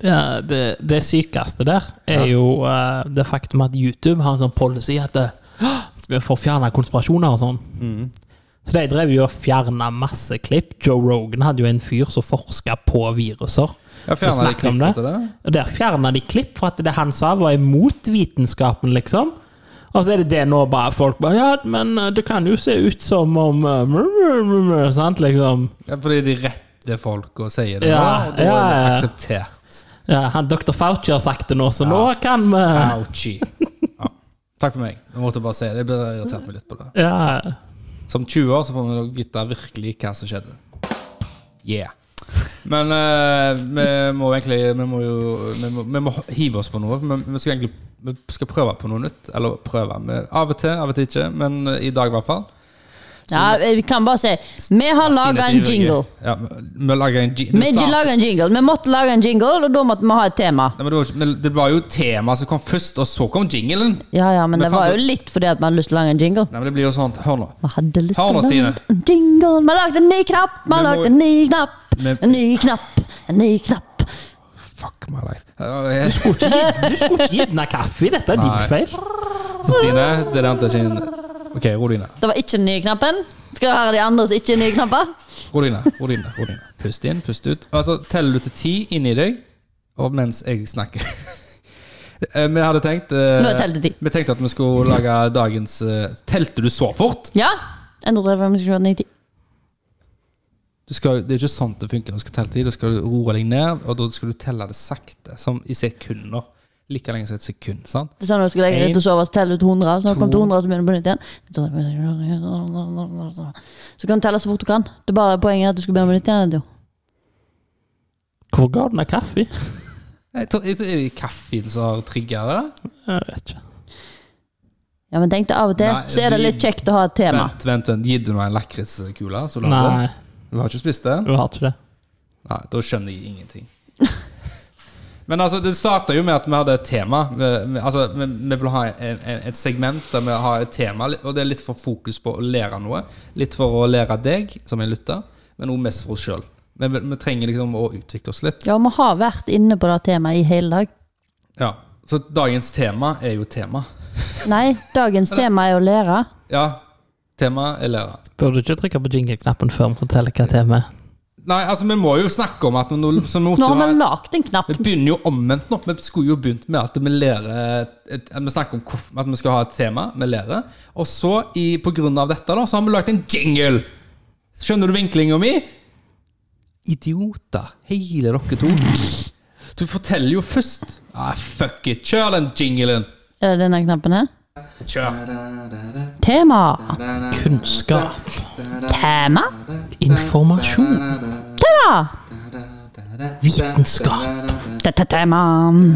S2: ja, det, det sykeste der er jo eh, det faktum at YouTube har en sånn policy at det, skal vi få fjerna konspirasjoner og sånn.
S1: Mm.
S2: Så de drev jo og fjerna masse klipp. Joe Rogan hadde jo en fyr som forska på viruser.
S1: Jeg fjerna
S2: Så
S1: de
S2: snakk om
S1: klippene
S2: det.
S1: til det.
S2: Og der fjerna de klipp for at det han sa var imot vitenskapen, liksom. Og så er det det nå bare folk bare Ja, men eh, det kan jo se ut som om eh, mr, mr, mr, mr, Sant, liksom.
S1: Ja, fordi de rette folk og sier det,
S2: Ja,
S1: nå, og da
S2: ja,
S1: er det
S2: ja.
S1: akseptert.
S2: Ja, han, Dr. Fauci har sagt det nå, så nå kan vi
S1: Ouchie. Ja. Takk for meg. Jeg måtte bare si det. Jeg ble irritert meg litt på det.
S2: ja.
S1: Som 20 år så får vi nok vite virkelig hva som skjedde. Yeah. Men eh, vi må egentlig Vi må jo Vi må, vi må hive oss på noe. Vi, vi skal egentlig vi skal prøve på noe nytt. Eller prøve. Vi, av og til, av og til ikke. Men eh, i dag, i hvert fall.
S3: Ja, vi kan bare si Vi har laga
S1: Stine
S3: en
S1: sier
S3: jingle.
S1: ikke- Ja, vi vi lager en jingle.
S3: Vi ikke laget en jingle. Vi måtte lage en jingle, og da måtte vi ha et tema.
S1: Nei, men det, var, ikke- men det var jo temaet som kom først, og så kom jinglen.
S3: Ja, ja, men
S1: Men
S3: det
S1: fant
S3: var jo
S1: du-
S3: litt fordi at vi hadde lyst til å lage en jingle.
S1: Nei, men det blir jo sånn Hør nå.
S3: Vi hadde lyst
S1: Ta nå,
S3: til å lage
S1: Stine.
S3: en jingle. Vi lagde en ny knapp, vi
S1: må-
S3: lagde en ny knapp,
S1: Men-
S3: en ny knapp, en ny knapp.
S1: Fuck my life. Eh,
S2: Du skulle ikke gi- du skulle ikke gi den kaffe. Dette er
S1: Nei.
S2: din feil.
S1: Stine, det er den til sin Ok, ro deg ned.
S3: Det var ikke den nye knappen. Skal vi høre de andre som ikke er nye knapper?
S1: Ro deg ned, ro deg ned, ro deg ned. Pust inn, pust ut. Altså, teller du til ti inni deg, og mens jeg snakker. *laughs* Eh, vi hadde tenkt eh,
S3: Nå er jeg telt til ti.
S1: Vi tenkte at vi skulle lage dagens eh, Telte du så fort?
S3: Ja. 135, 27, 90.
S1: Du skal, det er jo ikke sånn det funker når du skal telle tid. Da skal du roe deg ned, og da skal du telle det sakte, som i sekunder. Like lenge som et sekund. sant?
S3: Det er sånn når du skal legge deg ut og sove, så teller du til 100. Så når du kommer til 100, så begynner du på nytt igjen. Så kan du telle så fort du kan. Det er bare poenget er at du skal begynne på nytt igjen. Jo.
S2: Hvor ga den kaffe?
S1: Jeg tror, jeg tror, er det kaffen som har trigga det?
S2: Jeg vet ikke.
S3: Ja, men tenk deg av og til,
S1: Nei,
S3: så er det
S1: vi-
S3: litt kjekt å ha et tema.
S1: Vent, vent, vent. Gir du nå en lakriskule? som du har på?
S2: Nei,
S1: Du har ikke spist den?
S2: du har ikke det.
S1: Nei, da skjønner jeg ingenting. Men altså, det starta jo med at vi hadde et tema. Vi, vi, altså, vi, vi vil ha en, en, et segment der vi har et tema, og det er litt for fokus på å lære noe. Litt for å lære deg, som en lytter, men også mest for oss sjøl. Vi, vi, vi trenger liksom å utvikle oss litt.
S3: Ja, vi har vært inne på det temaet i hele dag.
S1: Ja. Så dagens tema er jo tema.
S3: Nei,
S1: *laughs*
S3: dagens tema er å lære.
S1: Ja, tema er lære.
S2: Burde du ikke trykke på jingle-knappen før vi forteller hva temaet er?
S1: Nei, altså, vi må jo snakke om at vi, nå- så vi måtte
S3: Nå
S1: jo
S3: har
S1: ha-
S3: vi lagt en knapp.
S1: Vi begynner jo omvendt nå. Vi skulle jo begynt med at vi lærer et, at Vi snakker om hvorf- at vi skal ha et tema. Vi lærer. Og så, i, på grunn av dette, da, så har vi lagd en jingle! Skjønner du vinklinga mi? Idioter, hele dere to. Du forteller jo først. Ah, fuck it. Kjør den jinglen.
S3: Er det denne knappen her?
S1: Kjør.
S3: Tema.
S2: Kunnskap.
S3: Tema.
S2: Informasjon.
S3: Tema.
S2: Vitenskap.
S3: Dette temaen.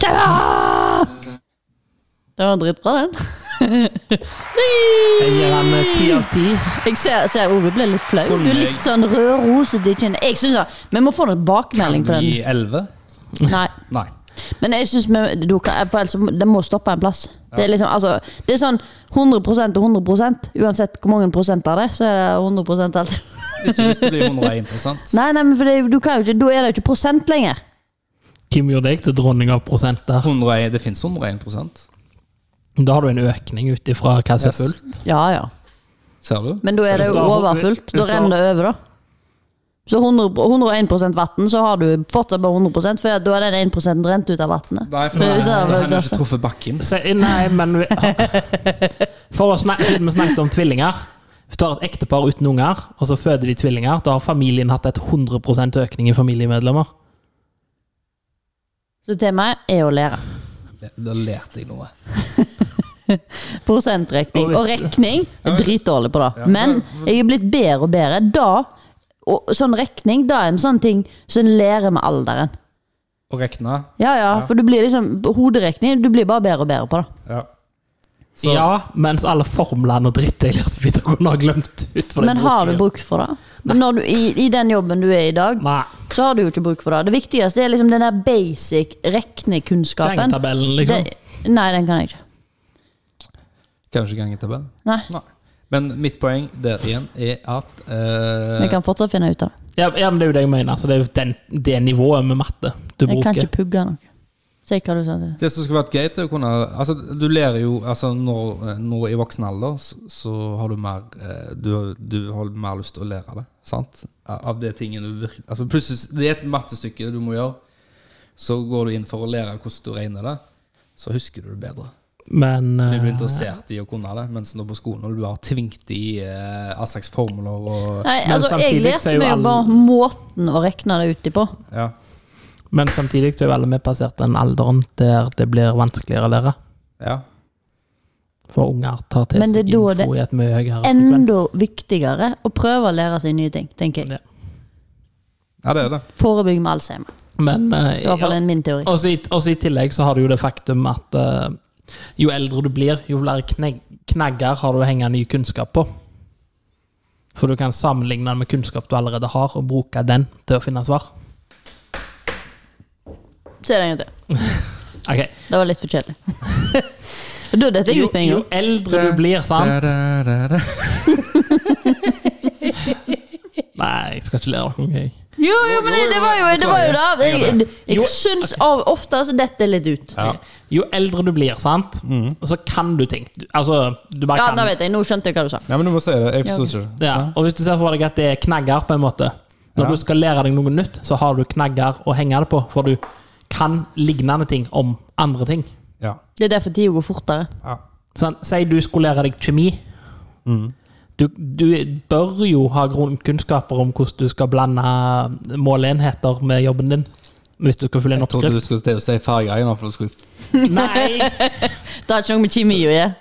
S3: Tema! Det var dritbra, den. *laughs*
S2: Jeg gir han ti av ti.
S3: Jeg ser, ser Ove ble litt flau. Du er litt sånn rødroset i kinnet. Jeg synes da, Vi må få noen bakmelding på
S1: I
S3: den.
S1: 11?
S3: Nei.
S1: Nei.
S3: Men jeg syns det må stoppe en plass. Det er liksom, altså, det er sånn 100 og 100 Uansett hvor mange prosent av det, så er det 100 alt.
S1: Ikke hvis det blir 101 sant?
S3: Nei, nei, men for det, du kan jo ikke, da er det jo ikke prosent lenger.
S2: Kim gjorde deg til dronning av prosenter.
S1: 101, det fins 101 prosent.
S2: Da har du en økning ut ifra hva som
S1: Yes.
S2: er fullt.
S3: Ja, ja.
S1: Ser du?
S3: Men da
S2: Så
S3: er det
S2: hvis
S3: jo
S2: da-
S3: overfullt. Da
S2: hvis da-
S3: renner det over, da. Så 100, 101 vann, så har du fortsatt bare 100 for da er den 1 rent ut av vannet.
S1: Nei, for
S3: Det er
S1: da
S3: jo der-
S1: da har
S3: der-
S1: vi ikke truffet bakken.
S2: Se, eh, nei, men vi, *laughs* For å snakke, siden vi snakket om tvillinger Hvis du har et ektepar uten unger, og så føder de tvillinger, da har familien hatt et 100 økning i familiemedlemmer.
S3: Så temaet er å lære.
S1: Da lærte jeg noe.
S3: Prosentrekning.
S2: Og hvis
S3: Og
S2: du-
S3: rekning er dritdårlig på det.
S1: Ja.
S3: Men jeg er blitt bedre og bedre. Da og sånn rekning da er en sånn ting som en lærer med alderen.
S1: Å regne.
S3: Ja, ja, for du blir liksom Hoderekning, du blir bare bedre og bedre på det.
S1: Ja. Så
S2: Ja, mens alle formlene og dritt jeg lærte på videregående, har glemt ut. for det
S3: Men har du
S2: bruker.
S3: bruk for det? Men når du, i, I den jobben du er i dag,
S2: Nei.
S3: så har du jo ikke bruk for det. Det viktigste er liksom den der basic regnekunnskapen.
S2: Tegnetabellen, liksom.
S3: Det- Nei, den kan jeg ikke.
S1: kanskje gange til Ben.
S3: Nei,
S1: Nei. Men mitt poeng der igjen er at eh,
S3: Vi kan fortsatt finne ut av det.
S2: Ja, ja, men det er jo det jeg mener. Så det er jo den, det nivået med matte du
S3: Jeg kan
S2: bruker.
S3: ikke pugge noe. Si hva du sa. til.
S1: Det som skulle vært greit, er å kunne Altså, du lærer jo altså, når, når i voksen alder så, så har du mer eh, du, du har mer lyst til å lære det, sant? Av det tingene du virkelig Altså, plutselig Det er et mattestykke du må gjøre. Så går du inn for å lære hvordan du regner det. Så husker du det bedre.
S2: Men
S1: Du blir
S2: eh,
S1: interessert i å kunne det, mens nå på skolen når du har tvingt i eh, all slags formler og
S3: Nei,
S2: Men
S3: altså, jeg
S2: samtidig så er
S3: lærte
S2: jo
S3: meg jo
S2: alle-
S3: bare måten å regne det ut i på.
S1: Ja.
S2: men samtidig så er jo alle vi passert den alderen der det blir vanskeligere å lære.
S1: ja.
S2: For unger tar til
S3: Men det
S2: seg
S3: er da
S2: info
S3: det
S2: i et mye høyere
S3: Enda viktigere å prøve å lære seg nye ting, tenker jeg.
S2: frekvens.
S1: Ja, det er det.
S3: Forebygg med Alzheimer.
S2: Men eh,
S3: I hvert fall
S2: ja,
S3: er min teori.
S2: også, i, også i tillegg så har du jo det faktum at eh, jo eldre du blir, jo flere kneg, knagger har du å henge ny kunnskap på. For du kan sammenligne den med kunnskap du allerede har, og bruke den til å finne svar.
S3: Se det en gang til.
S2: Ok.
S3: Det var litt for kjedelig. *laughs* da detter jeg
S2: Jo,
S3: ut med en
S2: jo
S3: gang.
S2: eldre du blir, sant
S1: Da-da-da-da.
S2: Nei, jeg skal ikke lære noe. jeg.
S3: Jo, jo, men det, det var jo det. Var jo det. Jeg,
S2: Jo,
S3: jeg syns av ofte så detter litt ut.
S1: Ja.
S2: Jo eldre du blir, sant, så kan du ting. Du- Altså, du bare
S3: Ja,
S2: kan
S3: da vet jeg. Nå skjønte jeg hva du sa.
S1: Nei, men du må si det. Jeg forstår ikke.
S2: Ja, og hvis du ser for deg at det er knagger, på en måte Når
S1: Ja.
S2: du skal lære deg noe nytt, så har du knagger å henge det på. For du kan lignende ting om andre ting.
S1: Ja.
S3: Det er derfor tida går fortere.
S1: ja.
S2: Sånn, si du skulle lære deg kjemi.
S1: Mm.
S2: Du, du bør jo ha grunnkunnskaper om hvordan du skal blande måleenheter med jobben din. Hvis du skal fylle en
S1: Jeg trodde du
S2: oppskrift.
S1: skulle til å si fargegreier nå, for du skulle
S2: Nei!
S3: Det har ikke noe med kjemi å gjøre.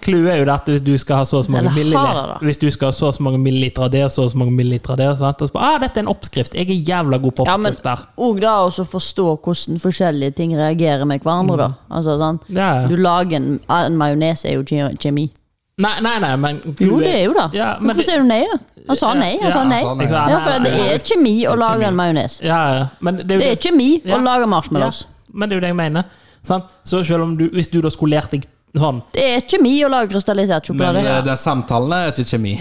S2: Clouet er jo det at hvis du skal ha så og så mange
S3: Eller har det,
S2: milliliter
S3: da?
S2: Hvis du skal ha så og så mange milliliter av det og så og så mange milliliter av det og sånt, og så, bare, ah, Dette er en oppskrift. Jeg er jævla god på
S3: Ja, men-
S2: oppskrifter.
S3: Og da også forstå hvordan forskjellige ting reagerer med hverandre. da. Altså, sånn.
S2: Ja, ja.
S3: Du lager en, en majones er jo kje- kjemi.
S2: Nei, nei, nei, men
S3: Jo, det er jo det.
S2: Ja, men
S3: Hvorfor sier du nei, da? Han sa nei. Han sa
S2: Ja,
S3: nei.
S1: han sa nei.
S3: Ja, for det er kjemi å lage en majones.
S2: Ja, ja, men det er jo
S3: Det er kjemi å
S2: Ja.
S3: lage marshmallows.
S2: Ja, men det er jo det jeg mener. Sant? Så selv om du, hvis du da skulle lært deg sånn
S3: Det er kjemi å lage krystallisert
S1: Men
S3: sjokolade.
S1: eh, det er samtalene er ikke kjemi.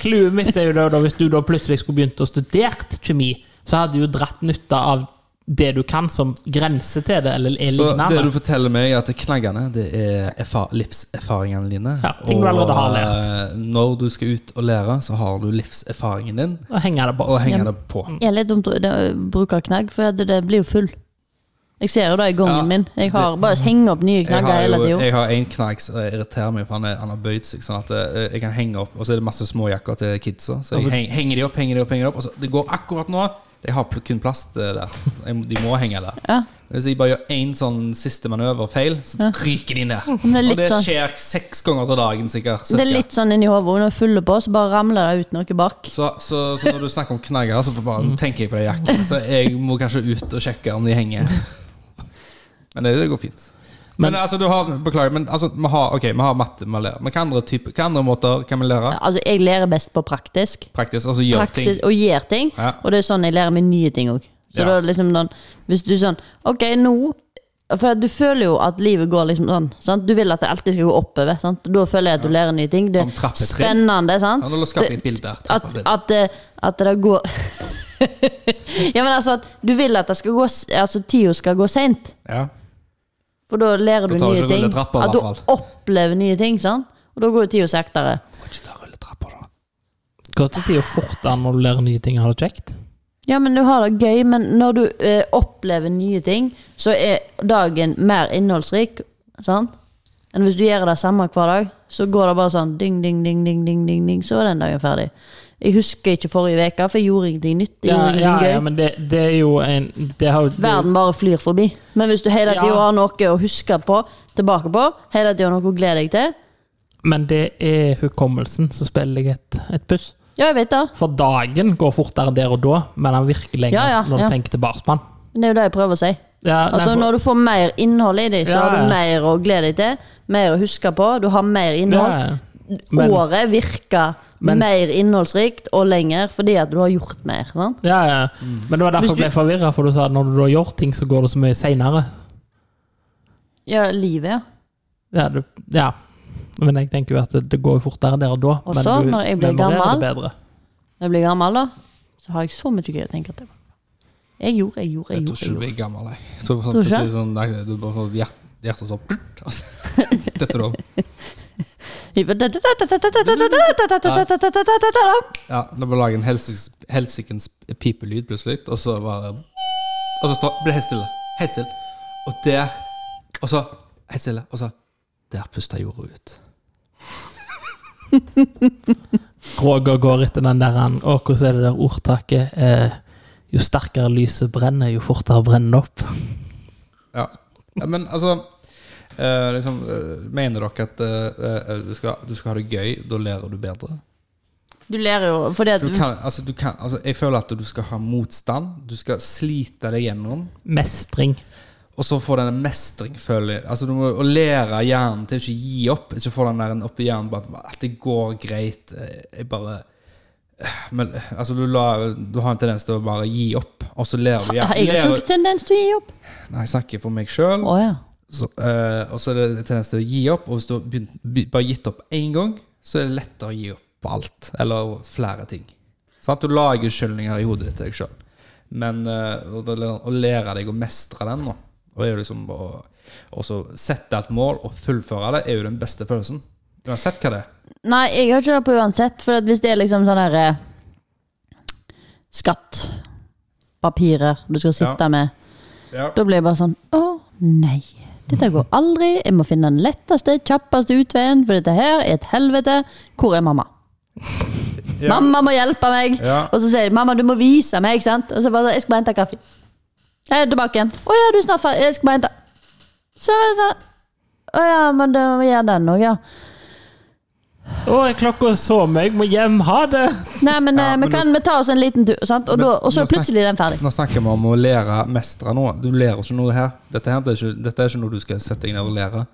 S2: Clouet mitt er jo da, da hvis du da plutselig skulle begynt å studere kjemi, så hadde du jo dratt nytte av det du kan som grense til det, eller er
S1: Så det du
S2: *laughs* lignende.
S1: forteller meg, er at knaggene det er erfa- livserfaringene dine.
S2: Ja, ting du allerede har lært.
S1: eh, når du skal ut og lære, så har du livserfaringen din,
S2: Og henger det på.
S1: og henger det på.
S3: Jeg er litt dumt å det- bruke knagg, for det, det blir jo full. Jeg ser jo det i gangen
S1: Ja,
S3: min. Jeg har bare henger opp nye
S1: Jeg
S3: knagger
S1: har,
S3: hele
S1: jo,
S3: tida.
S1: jeg har en knagg som irriterer meg, for han, er, han har bøyd seg sånn at eh, jeg kan
S3: Altså-
S1: henge opp, og så er det masse småjakker til kidsa. Så jeg heng- henger de opp, henger de opp, henger de opp, og så det går akkurat nå. Jeg har pl- kun plast eh, der. Jeg, må- de må henge der.
S3: Ja.
S1: Hvis jeg bare gjør én sånn siste manøver feil, så ryker de ned.
S3: det er litt
S1: og det
S3: sånn-
S1: skjer seks ganger til dagen, sikkert.
S3: Det er
S1: cirka.
S3: litt sånn inni hodet. Når du fyller på, så bare ramler det ut noe bak.
S1: Så, så, så når du snakker om knagger, så bare
S3: Mm.
S1: tenker jeg på de jakkene. Så jeg må kanskje ut og sjekke om de henger. Men det, det går fint. Men,
S2: Men-
S1: altså, du har Beklager, men altså, vi har, ok, vi har matte vi lærer. Men hva andre, typer- hva andre måter kan vi lære?
S3: Altså, jeg lærer best på praktisk.
S1: Praktisk. Altså gjøre ting.
S3: Praksis og gjør ting.
S1: Ja.
S3: Og det er sånn jeg lærer meg nye ting òg. Så
S1: Ja.
S3: da er det liksom sånn Hvis du sånn Ok, nå For du føler jo at livet går liksom sånn. Sant? Du vil at det alltid skal gå oppover. Sant? Da føler jeg at du lærer nye ting. Det
S1: Som
S3: er
S1: trappetrinn.
S3: spennende. Sant?
S1: Ja, nå skaper jeg et bilde der.
S3: At,
S1: Trappetrinn.
S3: at, det- at det går *laughs* Ja, men altså at du vil at det skal gå s- Altså tida skal gå seint.
S1: Ja.
S3: For da lærer du
S1: tar du
S3: nye
S1: ikke
S3: ting.
S1: rulletrapper, i
S3: At du
S1: hvert
S3: opplever nye ting. Sant? Og da går jo tida saktere.
S1: Må ikke ta rulletrappa, da.
S2: Går ikke tida fortere når du lærer nye ting og har det kjekt?
S3: Ja, men du har det gøy, men når du eh, opplever nye ting, så er dagen mer innholdsrik, sant? Enn hvis du gjør det samme hver dag, så går det bare sånn ding, ding, ding, ding, ding, ding, ding så er den dagen ferdig. Jeg husker ikke forrige uke, for jeg gjorde ingenting nytt. Jeg
S2: Ja,
S3: gjorde
S2: ja,
S3: ingenting
S2: ja,
S3: gøy.
S2: men det, det er jo en det har, jo- det,
S3: Verden bare flyr forbi. Men hvis du hele
S2: Ja.
S3: tida har noe å huske på, tilbake på, hele tida noe å glede deg til
S2: Men det er hukommelsen som spiller deg et, et puss.
S3: Ja, jeg vet det.
S2: For dagen går fortere der og da, men han virker lenger
S3: Ja, ja,
S2: når du
S3: ja.
S2: tenker tilbake på han.
S3: Men det er jo det jeg prøver å si.
S2: Ja, nei,
S3: Altså
S2: for-
S3: Når du får mer innhold i deg, så
S2: Ja, ja.
S3: har du mer å glede deg til. Mer å huske på. Du har mer innhold.
S2: Ja, ja. Men-
S3: Året virker
S2: Men-
S3: mer innholdsrikt og lenger fordi at du har gjort mer. Sant?
S2: ja, ja. Men det var derfor
S3: Hvis
S2: jeg ble forvirra, for du sa at når du har gjort ting, så går det så mye seinere.
S3: Ja, livet, ja.
S2: Ja, du- ja. Men jeg tenker jo at det, det går jo fortere der og da.
S3: Og
S2: men
S3: så,
S2: du
S3: når jeg blir
S2: memorerer
S3: gammel-
S2: det bedre.
S3: Når jeg blir gammel, da, så har jeg så mye gøy å tenke til. Jeg gjorde, jeg gjorde,
S1: Jeg
S3: jeg
S1: tror ikke du
S3: gjorde. Jeg gjorde.
S1: blir gammel, jeg. jeg tror
S3: Tror
S1: sånn,
S3: du ikke?
S1: precis sånn, nei, du bare får hjert, hjertet
S3: *laughs*
S1: sånn plut, altså. Dette da.
S3: Jeg bare-
S1: Ja, da bare lager en helsikes helsikens pipelyd plutselig, og så bare Og så stå, blir det helt stille. Helt stille. Og der Og så helt stille. Og så Der pusta jorda ut.
S2: Roger går etter den der han, Og hvordan er det der ordtaket? Eh, jo sterkere lyset brenner, jo fortere brenner det opp.
S1: Ja. ja men altså eh, liksom, eh, Mener dere at eh, eh, du, skal, du skal ha det gøy, da lærer du bedre?
S3: Du ler jo fordi at
S1: Du kan, altså, du kan, altså, jeg føler at du skal ha motstand. Du skal slite deg gjennom.
S2: Mestring.
S1: Og så får den en mestring, føler jeg. Altså, du må å lære hjernen til å ikke gi opp. Ikke få den der en opp i hjernen bare at, at det går greit. eh, Jeg bare Men altså, du, la, du har en tendens til å bare gi opp, og så ler du hjernen.
S3: *laughs* Jeg har
S1: Ler-
S3: ikke tendens til å gi opp.
S1: Nei, jeg snakker for meg sjøl.
S3: Å ja.
S1: Så, eh, og så er det en tendens til å gi opp. Og hvis du har begynt, be- bare gitt opp én gang, så er det lettere å gi opp på alt. Eller flere ting. Sant? du lager unnskyldninger i hodet ditt til deg sjøl. Men eh, og det er å lære deg å mestre den, nå. og det er jo liksom å og så sette et mål og fullføre det, er jo den beste følelsen. Uansett hva det er.
S3: Nei, jeg har ikke det på uansett. For at hvis det er liksom sånn der eh, Skatt. Papirer du skal sitte
S1: Ja.
S3: med.
S1: Ja.
S3: Da blir jeg bare sånn Å, nei. Dette går aldri. Jeg må finne den letteste, kjappeste utveien, for dette her er et helvete. Hvor er mamma?
S1: Ja.
S3: Mamma må hjelpe meg!
S1: Ja.
S3: Og så sier jeg 'mamma, du må vise meg', ikke sant? Og så bare 'jeg skal bare hente kaffe'. Jeg er tilbake igjen. 'Å ja, du er snart ferdig. Jeg skal bare hente'. Så er det sånn Å ja, men da må vi gjøre den òg, ja.
S2: Å, er klokka så mye, jeg må hjem, ha det!
S3: Nei, men,
S1: Ja,
S3: eh,
S1: men
S3: vi kan vi ta oss en liten tur, sant? Og,
S1: Men-
S3: da, og så
S1: men
S3: er plutselig den ferdig.
S1: Nå snakker vi om å lære mestre noe. Du lærer ikke noe her. Dette, her, det er, ikke, dette er ikke noe du skal sette deg ned og lære.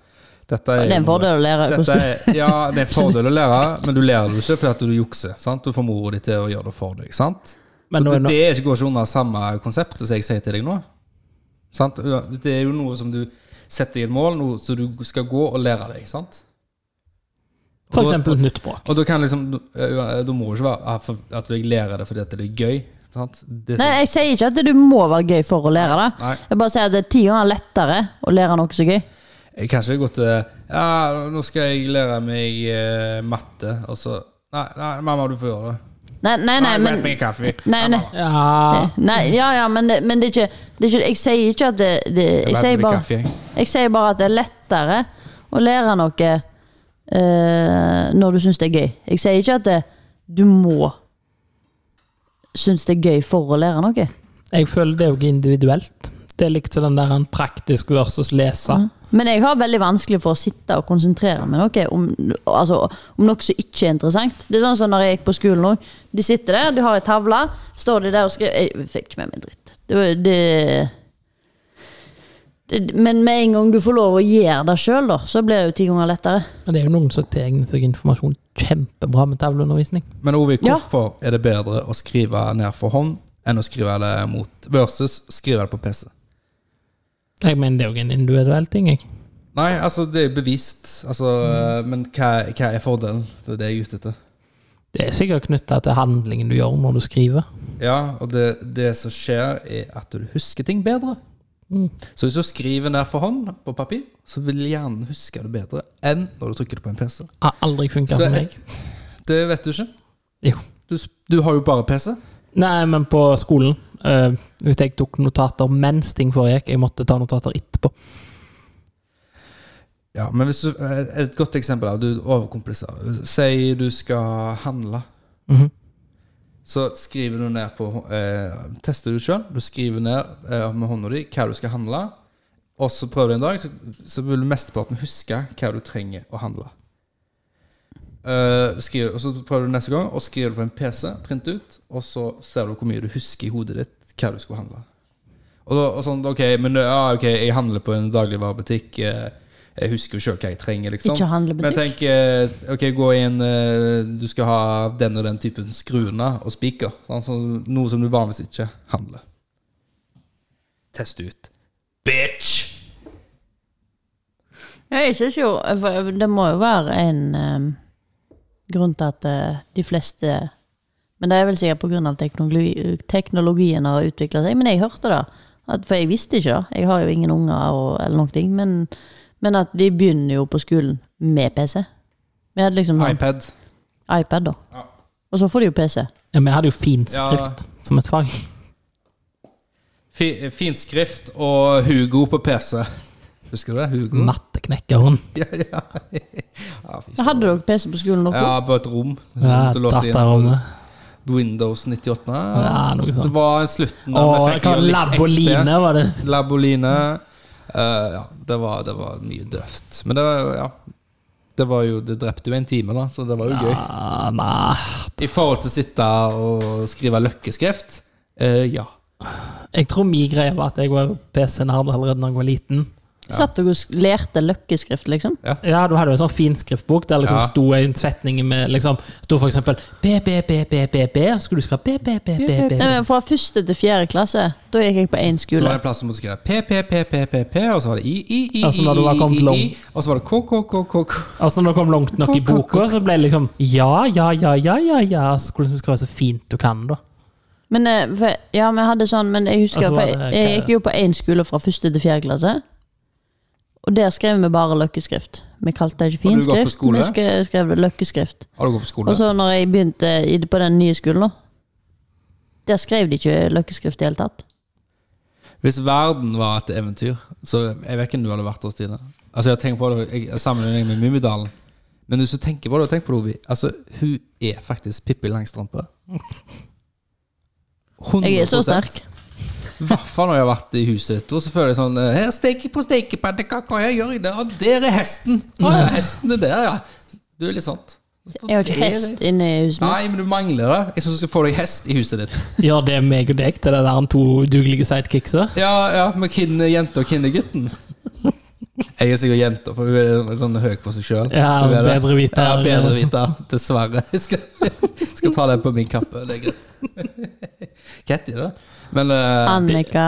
S1: Dette er,
S3: Det er
S1: noe-
S3: en fordel å lære
S1: Dette
S3: hvordan
S1: er, ja, det er en fordel å lære, men du lærer det ikke fordi at du jukser. Sant? Du får mora di til å gjøre det for deg. Sant?
S2: Men
S1: så
S2: nå
S1: det,
S2: er
S1: det er ikke- går ikke under samme konseptet som jeg sier til deg nå. Sant? Det er jo noe som du setter i et mål, noe som du skal gå og lære deg. Sant?
S2: For eksempel et nytt språk.
S1: Og da kan liksom Du du må jo ikke være ah, for- at jeg lærer det fordi at det er sånn- gøy. Sant? Det,
S3: Nei, jeg sier ikke at du må være gøy for å lære det.
S1: Nei.
S3: Jeg bare sier at det er ti ganger lettere å lære noe så gøy.
S1: jeg kan ikke gå til Ja, nå skal jeg lære meg eh, matte, og så Nei, nei, mamma, du får gjøre det.
S3: Nei, nei, nei, men
S1: Hent meg en kaffe.
S3: Nei, nei.
S2: Ja,
S3: Nei, ja, ja, men, det, men det, er ikke, det er ikke Jeg sier ikke at det, det jeg,
S1: lærte
S3: sier
S1: meg
S3: bare,
S1: kaffe, jeg.
S3: jeg sier bare at det er lettere å lære noe eh, når du syns det er gøy. Jeg sier ikke at det, du må synes det er gøy for å lære noe.
S2: Jeg føler det er jo ikke individuelt. Det er likt som den der en praktisk versus lese.
S3: Men jeg har veldig vanskelig for å sitte og konsentrere meg noe om, altså, om noe som ikke er interessant. Det er sånn som når jeg gikk på skolen òg. De sitter der, de har ei tavle, står de der og skriver Jeg fikk ikke med meg dritt. Det, var- det, det, men med en gang du får lov å gjøre det sjøl, da, så blir det jo ti ganger lettere.
S2: Men det er jo noen som tilegner seg informasjon kjempebra med tavleundervisning.
S1: Men Ovi,
S3: Ja.
S1: hvorfor er det bedre å skrive ned for hånd enn å skrive det mot versus skrive det på PC?
S2: Jeg mener det er jo ikke en individuell ting, jeg.
S1: Nei, altså, det er bevist. Altså,
S3: Mm.
S1: Men hva, hva er fordelen? Det er det jeg er ute etter.
S2: Det er sikkert knytta til handlingen du gjør når du skriver.
S1: Ja, og det, det som skjer, er at du husker ting bedre. Så hvis du skriver ned for hånd på papir, så vil hjernen huske det bedre enn når du trykker det på en PC.
S2: Har aldri funka
S1: Så-
S2: for meg.
S1: Det vet du ikke.
S2: Jo.
S1: Du, s- du har jo bare PC.
S2: Nei, men på skolen eh, Hvis jeg tok notater mens ting foregikk, jeg måtte ta notater etterpå.
S1: Ja, men hvis du, eh, Et godt eksempel er at du overkompliserer det. Si du skal handle.
S2: Mhm.
S1: Så skriver du ned på eh, Tester du sjøl. Du skriver ned eh, med hånda di hva du skal handle. Og så prøver du en dag, så, så vil du mesteparten huske hva du trenger å handle. Eh, skriver, og Så prøver du neste gang, og skriver du på en PC, print ut, og så ser du hvor mye du husker i hodet ditt hva du skulle handle. Og, da, og sånn, ok, men ja, ok, jeg handler på en dagligvarebutikk. eh, Jeg husker jo sjøl hva jeg trenger, liksom.
S3: Ikke handlebutikk.
S1: Men tenk, eh, ok, gå inn eh, Du skal ha den og den typen skruene og spiker. sant, så noe som du vanligvis ikke handler. Test ut. Bitch!
S3: Ja, Jeg synes jo for Det må jo være en eh, grunn til at eh, de fleste Men det er vel sikkert pga. Teknologi, teknologien har utvikla seg. Men jeg hørte det, at, for jeg visste ikke det. Jeg har jo ingen unger og, eller noen ting. Men, men at de begynner jo på skolen med PC. Vi hadde liksom sånn
S1: iPad.
S3: iPad, da.
S1: Ja.
S3: Og så får de jo PC.
S2: Ja, men jeg hadde jo finskrift som et fag.
S1: Fi- Fin skrift og Hugo på PC. Husker du det? Hugo?
S2: Matteknekkeren.
S1: Ja, ja. ja, fy
S3: Ja,
S1: søren.
S3: Hadde dere PC på skolen dere?
S1: ja på et rom.
S2: Ja,
S1: Du låser inn.
S2: Datarommet.
S1: Windows 98.
S2: Ja, noe sånt.
S1: Det var slutten
S2: Og
S1: vi fikk jo litt
S2: Laboline,
S1: XP.
S2: var det.
S1: Laboline. Eh, ja, det var, det var mye døvt. Men det var, ja. Det var jo Det drepte jo en time, da, så det var jo gøy.
S2: Ah, nei.
S1: I forhold til å sitte og skrive løkkeskrift eh, ja.
S2: Jeg tror min greie var at jeg var PC-nerd allerede da jeg var liten.
S3: Satt dere og sk- lærte løkkeskrift, liksom?
S2: Ja, du hadde jo en sånn fin skriftbok der liksom
S1: Ja.
S2: sto en setning med liksom, sto for eksempel B, B, B, B, B, B, og så skulle du skrive B, B, B, B, B.
S3: Nei, men Fra første til fjerde klasse, da gikk jeg på én
S1: Så
S3: skole.
S1: var det en plass som måtte skrive P, P, P, P, P, P, og så var det I, I, I, I,
S2: Altså, når du var
S1: I, I,
S2: kommet
S1: I,
S2: langt.
S1: og så var det K, K, K, K, K.
S2: Og så når du kom langt nok i boka, så ble det liksom ja, ja, ja, ja, ja, ja, så skulle du liksom skrive så fint du kan, da.
S3: Men, eh, for, ja, vi hadde sånn, men jeg husker
S2: Og så var
S3: for jeg,
S2: det-
S3: jeg gikk jo på én skole fra første til fjerde klasse. Og der skrev vi bare løkkeskrift. Vi kalte det ikke
S1: Har du gått på
S3: finskrift,
S1: skole?
S3: vi skrev, skrev det løkkeskrift.
S1: Har du gått på skole?
S3: Og så når jeg begynte i, på den nye skolen, da, der skrev de ikke løkkeskrift i det hele tatt.
S1: Hvis verden var et eventyr, så jeg vet ikke om du hadde vært der, Stine. Altså, jeg tenker på det, jeg sammenligner deg med Mummidalen. Men hvis du tenker på det, tenk på det, Ovi. Altså, hun er faktisk Pippi Langstrømpe.
S3: Jeg er så sterk.
S1: I hvert fall når jeg har vært i huset ditt, og så føler jeg sånn eh, Her steker jeg på stekepannekaker, her gjør jeg det, og der er hesten! Å ja, hesten er der, ja. Du er litt sånn.
S3: Jeg har ikke hest inne i huset mitt.
S1: Nei, men du mangler det. Jeg syns du skal få deg hest i huset ditt.
S2: Gjør det meg og deg til det der to udugelige sidekickser.
S1: Ja, ja, men hvem er jenta, og hvem er gutten? Jeg er sikkert jenta, for hun er sånn høy på seg sjøl.
S2: Ja, bedre viter.
S1: Ja, bedre viter. Dessverre. Jeg skal, skal ta den på min kappe. Det er greit. Hva heter det? Men, eh,
S3: Annika.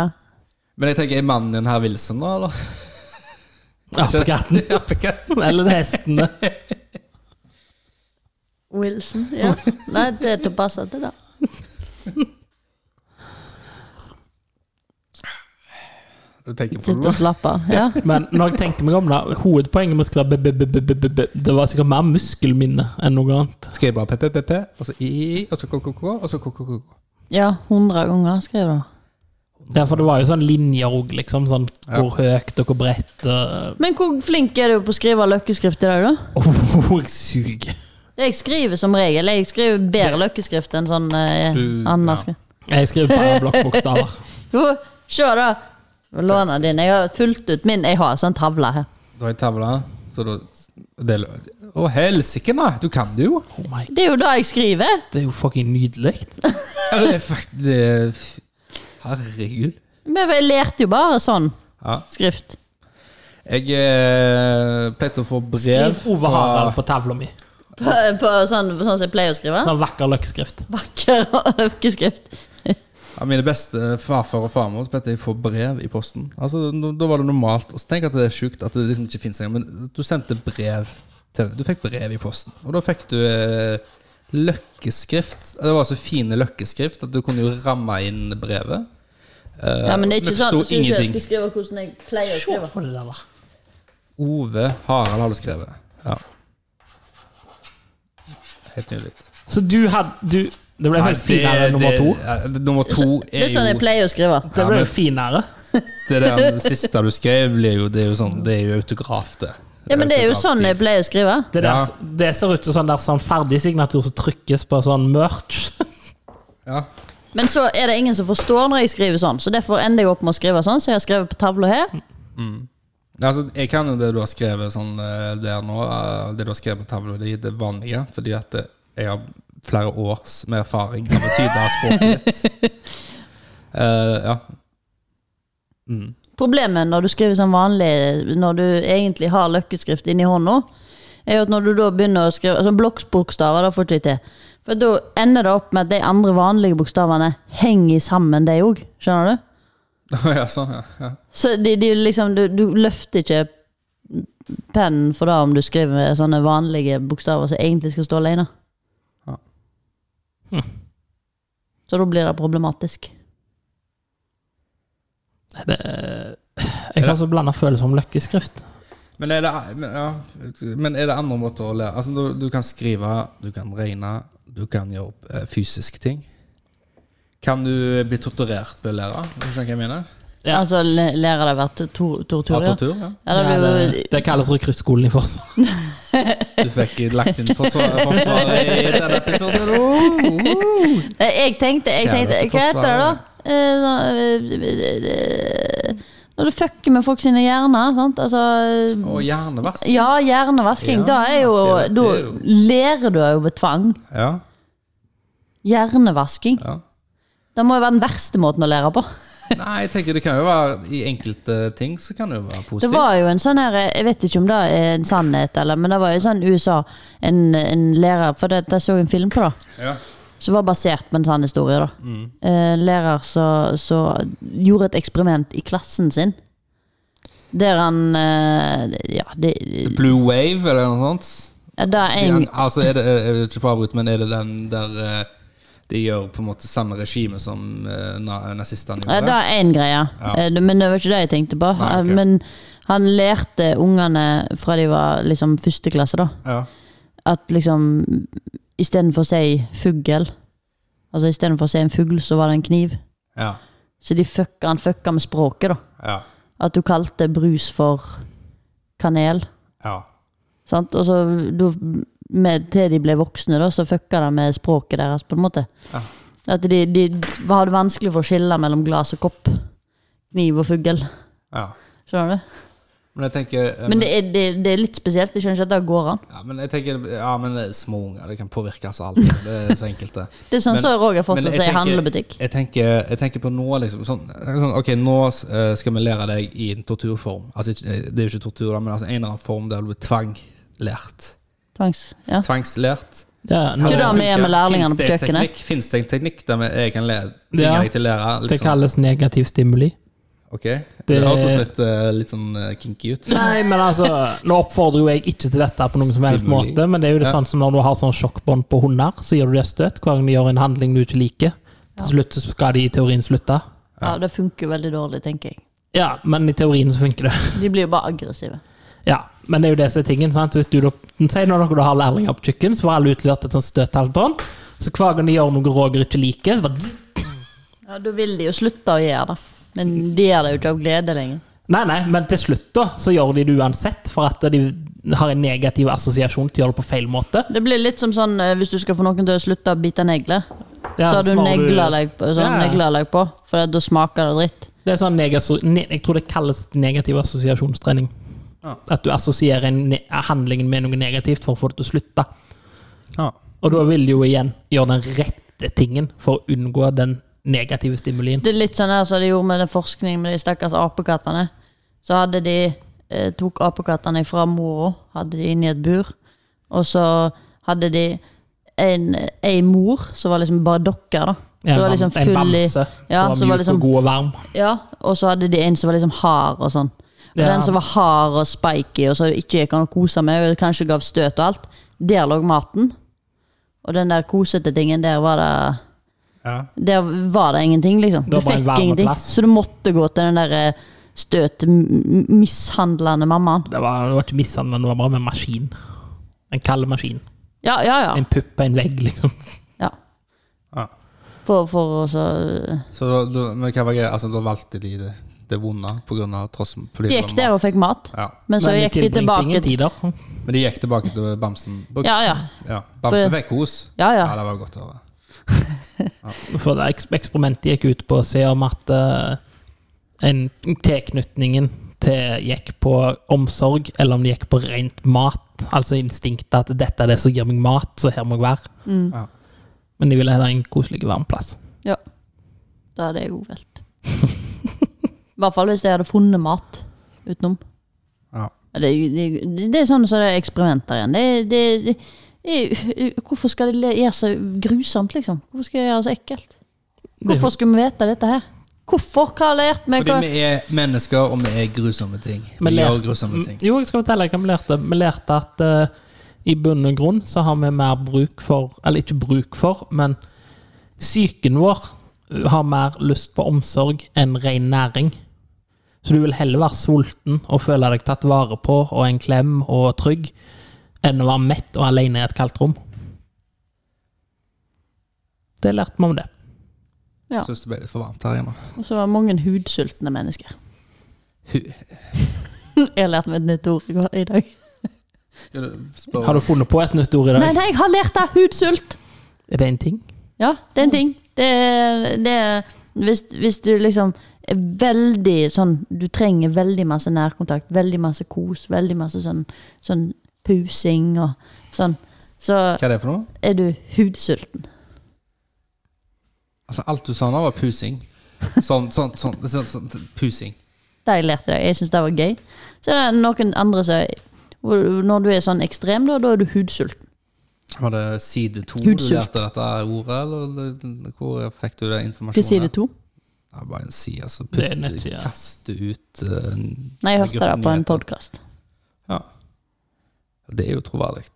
S1: men jeg tenker, er mannen din herr Wilson, da? Eller?
S2: Apekatten.
S1: *laughs* Ja, på katten.
S2: Eller hestene.
S3: Wilson. Ja. *laughs* Nei, det er til å passe til, da.
S1: Du tenker på
S3: Sitte og
S1: det?
S3: slappe av. Ja.
S2: Men når jeg tenker meg om det, hovedpoenget med å skrive b, b, b, b, b, b, det var sikkert mer muskelminne enn noe annet.
S1: Skal jeg bare PPPP, og så II, og så KKK, og så KKK?
S3: ja, 100 ganger skrev du.
S2: Ja, for det var jo sånn linjer òg, liksom. Sånn hvor høyt og hvor bredt. Og, *laughs*
S3: Men hvor flink er du på å skrive løkkeskrift i dag, da?
S2: oh, jeg suger.
S3: Jeg skriver som regel. Jeg skriver bedre løkkeskrift enn sånn eh,
S1: Du-
S3: annen
S1: ja.
S3: skrift.
S1: *laughs*
S2: Jeg skriver bare blokkbokstaver.
S3: Jo, se da. Låne din. Jeg har fulgt ut min. Jeg har en sånn tavle her.
S1: Du har ei tavle, så da det er lø- Å, helsike, nei! Du kan det jo!
S2: Oh my,
S3: Det er jo det jeg skriver.
S2: det er jo fucking nydelig.
S1: Ja, det er fakt- det er- Herregud.
S3: Men jeg lærte jo bare sånn
S1: Ja.
S3: skrift.
S1: Jeg eh, pleide å få brev
S2: Skriv Altså, Ove Harald på tavla mi.
S3: På, på sånn, sånn som jeg pleier å skrive.
S2: En vakker løkkskrift.
S3: Vakker og økeskrift.
S1: Ja, mine beste farfar og farmor så pleide jeg å få brev i posten. Altså, nå- Da var det normalt. Og så tenk at det er sjukt at det liksom ikke finnes engang, men du sendte brev til Du fikk brev i posten, og da fikk du eh, løkkeskrift. Det var så fine løkkeskrift at du kunne jo ramme inn brevet. Eh,
S3: Ja, men det er ikke sånn
S1: forsto
S3: jeg synes ikke jeg
S1: ingenting.
S3: skal skrive hvordan jeg pleier å
S2: Se
S3: skrive.
S2: på det der, da.
S1: Ove Harald har du skrevet. Ja. Helt nydelig.
S2: Så du hadde du, Det ble
S1: Nei,
S2: faktisk finere enn nummer to.
S1: ja, det- nummer to
S3: Det
S1: er
S3: er sånn jeg
S1: jo
S3: pleier å skrive.
S2: Det ble jo finere.
S1: Det der siste du skrev, blir jo, det er jo sånn Det er jo autograf, det.
S3: Ja, men det er jo sånn
S1: Autografstil.
S3: jeg pleier å skrive.
S2: Det, der, det ser ut som sånn der sånn ferdig signatur som trykkes på sånn merch. *laughs*
S1: ja.
S3: Men så er det ingen som forstår når jeg skriver sånn, så derfor ender jeg opp med å skrive sånn, så jeg har skrevet på tavla her.
S1: Altså, jeg kan jo det du har skrevet sånn eh, der nå, eh, det du har skrevet på tavla di, det vanlige, fordi at det- jeg har flere års med erfaring av å tyde språket litt.
S3: *laughs*
S1: Eh, ja. *laughs* Mm.
S3: Problemet når du skriver sånn vanlig, når du egentlig har løkkeskrift inni hånda, er jo at når du da begynner å skrive altså blokksbokstaver, da får du ikke til. For da ender det opp med at de andre vanlige bokstavene henger sammen, de òg. Skjønner du?
S1: ja, sånn, ja. ja.
S3: Så de, de liksom, du, du løfter ikke pennen for det om du skriver med sånne vanlige bokstaver som egentlig skal stå alene. Hm.
S1: Ja.
S3: Så da blir det problematisk.
S2: Jeg kan så blande følelser om løkkeskrift.
S1: Men er, det, men, ja, men er det andre måter å lære Altså, du, du kan skrive, du kan regne, du kan gjøre eh, fysiske ting. Kan du bli torturert ved å lære? Du skjønner hva jeg mener?
S2: Ja.
S3: Altså le- lære det å være tor tortur,
S1: Av
S3: ja.
S1: tortur, ja.
S3: ja det blir jo
S2: det, det kalles rekruttskolen i Forsvaret.
S1: Du fikk lagt inn forsvar- forsvaret i denne episoden. Oh!
S3: Nei, Eh, Jeg tenkte, jeg
S1: Kjære
S3: tenkte
S1: til
S3: Hva heter det, da? Eh, nå, eh, eh, Når du fucker med folk sine hjerner. Sant? Altså,
S1: Og hjernevask.
S3: ja, hjernevasking.
S1: Ja,
S3: da er jo,
S1: det er- det
S3: da
S1: er jo-
S3: lærer du jo ved tvang.
S1: Ja,
S3: Hjernevasking.
S1: ja.
S3: Det må jo være den verste måten å lære på.
S1: Nei, jeg tenker det kan jo være I enkelte ting så kan det jo være
S3: Det
S1: positivt.
S3: var jo en sånn her, Jeg vet ikke om det er en sannhet, eller, men det var jo sånn i USA, en, en lærer For det, det så jeg en film på, da.
S1: Ja.
S3: som var basert på en sann historie. da.
S1: Mm.
S3: En lærer som som gjorde et eksperiment i klassen sin. Der han eh, Ja, det,
S1: Blue Wave, eller noe sånt.
S3: det er
S1: De,
S3: en,
S1: altså, er det, jeg vil ikke få avbryte, men er det den der eh, de gjør på en måte samme regime som eh, na- nazistene
S3: ja, det
S1: gjorde?
S3: er én greie,
S1: Ja.
S3: Eh, det- men det var ikke det jeg tenkte på.
S1: Nei, ok.
S3: Eh, Men han lærte ungene fra de var liksom første klasse, da.
S1: Ja.
S3: at liksom Istedenfor å si fugl, altså istedenfor å si en fugl, så var det en kniv.
S1: Ja.
S3: Så de fucka, han fucka med språket, da.
S1: Ja.
S3: At du kalte brus for kanel.
S1: ja.
S3: Sant? Og så da, med, til de ble voksne, da, så fucka det med språket deres, på en måte.
S1: Ja.
S3: At de, de hadde vanskelig for å skille mellom glass og kopp. Kniv og fugl.
S1: ja.
S3: Skjønner du?
S1: Men jeg tenker eh,
S3: Men det er, det, det er litt spesielt. Jeg skjønner ikke at det går an.
S1: ja, men jeg tenker, ja, men det er små unger, det kan påvirkes av alt. Det er så enkelt, det.
S3: Det er sånn
S1: Men-
S3: som Roger *laughs* fortsatt
S1: jeg
S3: er i
S1: tenker-
S3: handlebutikk.
S1: Jeg tenker, jeg tenker på nå, liksom sånn, sånn, Ok, nå eh, skal vi lære deg i en torturform. Altså, ikke- det er jo ikke tortur, da, men altså, en eller annen form der du blir tvanglært.
S3: Tvangs. Ja.
S1: Tvangslært.
S2: Ja,
S3: Ikke
S2: nå-
S3: det vi er med lærlingene
S1: Finnes det
S3: på kjøkkenet?
S1: teknikk- Finnes det en teknikk der vi- jeg kan lære ting
S2: Ja.
S1: jeg til å lære?
S2: det
S1: Liksom.
S2: kalles negativ stimuli.
S1: Ok, det,
S2: Det-
S1: hørtes litt, eh, litt sånn eh, kinky ut.
S2: Nei, men altså, Nå oppfordrer jo jeg ikke til dette på noen som helst
S1: Stimuli.
S2: måte, men det er jo det
S1: Ja.
S2: sånn som når du har sånn sjokkbånd på hunder, så gir du det støt hver gang de gjør en handling du ikke liker. Til slutt så skal de i teorien slutte.
S3: Ja, det funker veldig dårlig, tenker jeg.
S2: Ja, men i teorien så funker det. *laughs*
S3: De blir jo bare aggressive.
S2: Ja, men det er jo det som er tingen. sant? Hvis du da, Si når dere da har lærlinger på kjøkken, så får alle utlevert et sånt støthalsbånd. Så hver gang de gjør noe Roger ikke liker, så bare dzz.
S3: Ja, Da vil de jo slutte å gjøre det. Men de gjør det jo ikke av glede lenger.
S2: Nei, nei, men til slutt da, så gjør de det uansett, for at de har en negativ assosiasjon til å gjøre det på feil måte.
S3: Det blir litt som sånn eh, hvis du skal få noen til å slutte å bite negler.
S2: Ja,
S3: så
S2: så
S3: har du
S2: sparer du-
S3: neglelag på, sånn
S2: Ja.
S3: neglelag på, for da smaker det dritt.
S2: Det er sånn negaso- ne- Jeg tror det kalles negativ assosiasjonstrening.
S1: Ja.
S2: At du assosierer en ne- handlingen med noe negativt for å få det til å slutte.
S1: Ja.
S2: Og da vil du jo igjen gjøre den rette tingen for å unngå den negative stimulien.
S3: Det er litt sånn her som de gjorde med den forskningen med de stakkars apekattene. Så hadde de eh, tok apekattene fra mora, hadde de inni et bur. Og så hadde de en, ei mor som var liksom bare dokker, da.
S2: En,
S3: Som var liksom
S2: en
S3: full i
S2: bamse
S3: ja,
S2: som
S3: som
S2: var
S3: var
S2: mjuk
S3: liksom-
S2: og god og varm.
S3: Ja, og så hadde de en som var liksom hard og sånn. Og
S2: Ja.
S3: den som var hard og spiky, og som ikke gikk an å kose med, og kanskje gav støt og alt, der lå maten. Og den der kosete tingen, der var det
S1: Ja.
S3: Der var det ingenting, liksom. Du
S2: Det var bare en
S3: fikk
S2: varme
S3: ingenting.
S2: plass.
S3: Så du måtte gå til den der eh, støt m- mishandlende mammaen.
S2: Det var, det var ikke mishandling, det var bare en maskin. En kald maskin.
S3: Ja, ja, ja.
S2: En pupp på en vegg, liksom.
S3: ja.
S1: Ja.
S3: For, for å så
S1: Så da, da, men hva var greia? Altså, da valgte de det, det vonde på grunn av tross fordi
S3: De
S1: det
S3: gikk
S1: var
S3: der og fikk mat,
S1: mat. Ja.
S3: men så gikk de tilbake til
S2: tider.
S1: Men de gikk tilbake til bamsen. Ja.
S3: Ja, ja.
S1: Bamsen
S3: For-
S1: fikk kos.
S3: Ja, ja.
S1: Ja, det var godt å høre.
S2: For det eks- eksperimentet gikk ut på å se om at eh, en tilknytningen til gikk på omsorg, eller om det gikk på rent mat. Altså instinktet at 'dette er det som gir meg mat, så her må jeg være'.
S3: Mm.
S1: Ja.
S2: Men de ville heller ha en koselig, varm plass.
S3: Da hadde jeg òg valgt. *laughs* I hvert fall hvis jeg hadde funnet mat utenom.
S1: Ja.
S3: Ja, Det, det, det er sånn som det er eksperimenter igjen. Det, det, det, det, hvorfor skal det le- gjøre seg grusomt, liksom? Hvorfor skal det gjøre seg ekkelt? Hvorfor skulle vi vite dette her? Hvorfor? Hva har lært meg?
S1: Fordi
S3: Hva?
S1: vi er mennesker, og vi er grusomme ting. Vi
S2: Men
S1: gjør
S2: lær-
S1: grusomme ting.
S2: Mm, Jo, jeg skal fortelle deg hva vi lærte. Vi lærte at eh, i bunn og grunn så har vi mer bruk for Eller ikke bruk for, men psyken vår eh, har mer lyst på omsorg enn ren næring. Så du vil heller være sulten og føle deg tatt vare på og en klem og trygg, enn å være mett og alene i et kaldt rom. Det lærte vi om det.
S3: Ja.
S1: Syns det ble litt for varmt her inne.
S3: Og så var det mange hudsultne mennesker. *laughs* Jeg lærte meg et nytt ord i går- i dag.
S1: Spør-
S2: Har du funnet på et nytt ord i
S3: Nei,
S2: dag?
S3: nei, jeg har lært deg hudsult!
S2: Er det en ting?
S3: Ja, det er en ting. Det, er- det, er- hvis, hvis du liksom er veldig sånn Du trenger veldig masse nærkontakt, veldig masse kos, veldig masse sånn, sånn pusing og sånn. Så
S1: Hva er det for noe?
S3: er du hudsulten.
S1: Altså, alt du sa nå, var pusing. Sånn, sånn, sånn, sånn, sånn pusing.
S3: Det jeg lærte jeg. Jeg syns det var gøy. Så er det noen andre som hvor- Når du er sånn ekstrem, da, da er du hudsulten.
S1: Var det side to du
S3: Hudsult.
S1: lærte dette ordet, eller hvor fikk du det informasjonen?
S3: Hva sier det to?
S1: Ja, bare en side, altså.
S2: Det er nettsida.
S1: Kaste ut eh,
S3: Nei, jeg hørte
S1: Gruppen
S3: det på en
S1: nyheter.
S3: podkast.
S1: Ja. Det er jo troverdig.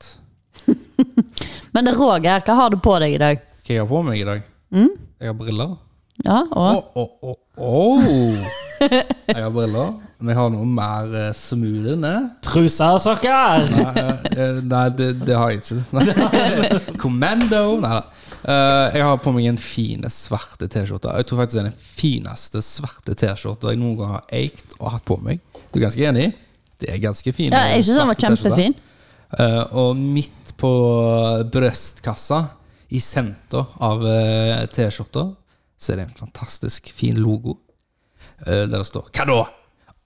S3: Men Roger, hva har du på deg i dag?
S1: Hva jeg har på meg i dag? Jeg har briller.
S3: Ja, og
S1: Å, å, å, å. Jeg har briller, men jeg har noe mer eh, smooth enn det.
S2: Truser og sokker!
S1: Nei, eh, Nei, det, det har jeg ikke. Nei. *laughs* Commando! Nei da. Eh, jeg har på meg en fin svarte T-skjorte. Jeg tror faktisk det er den fineste svarte T-skjorta jeg noen gang har eikt og hatt på meg. Du er ganske enig? Det er ganske fine.
S3: ja, Jeg syns den var
S1: svarte T-skjorter.
S3: kjempefin.
S1: Eh, og midt på brøstkassa, i senter av eh, T-skjorta, så er det en fantastisk fin logo. eh, der det står 'Hva da?'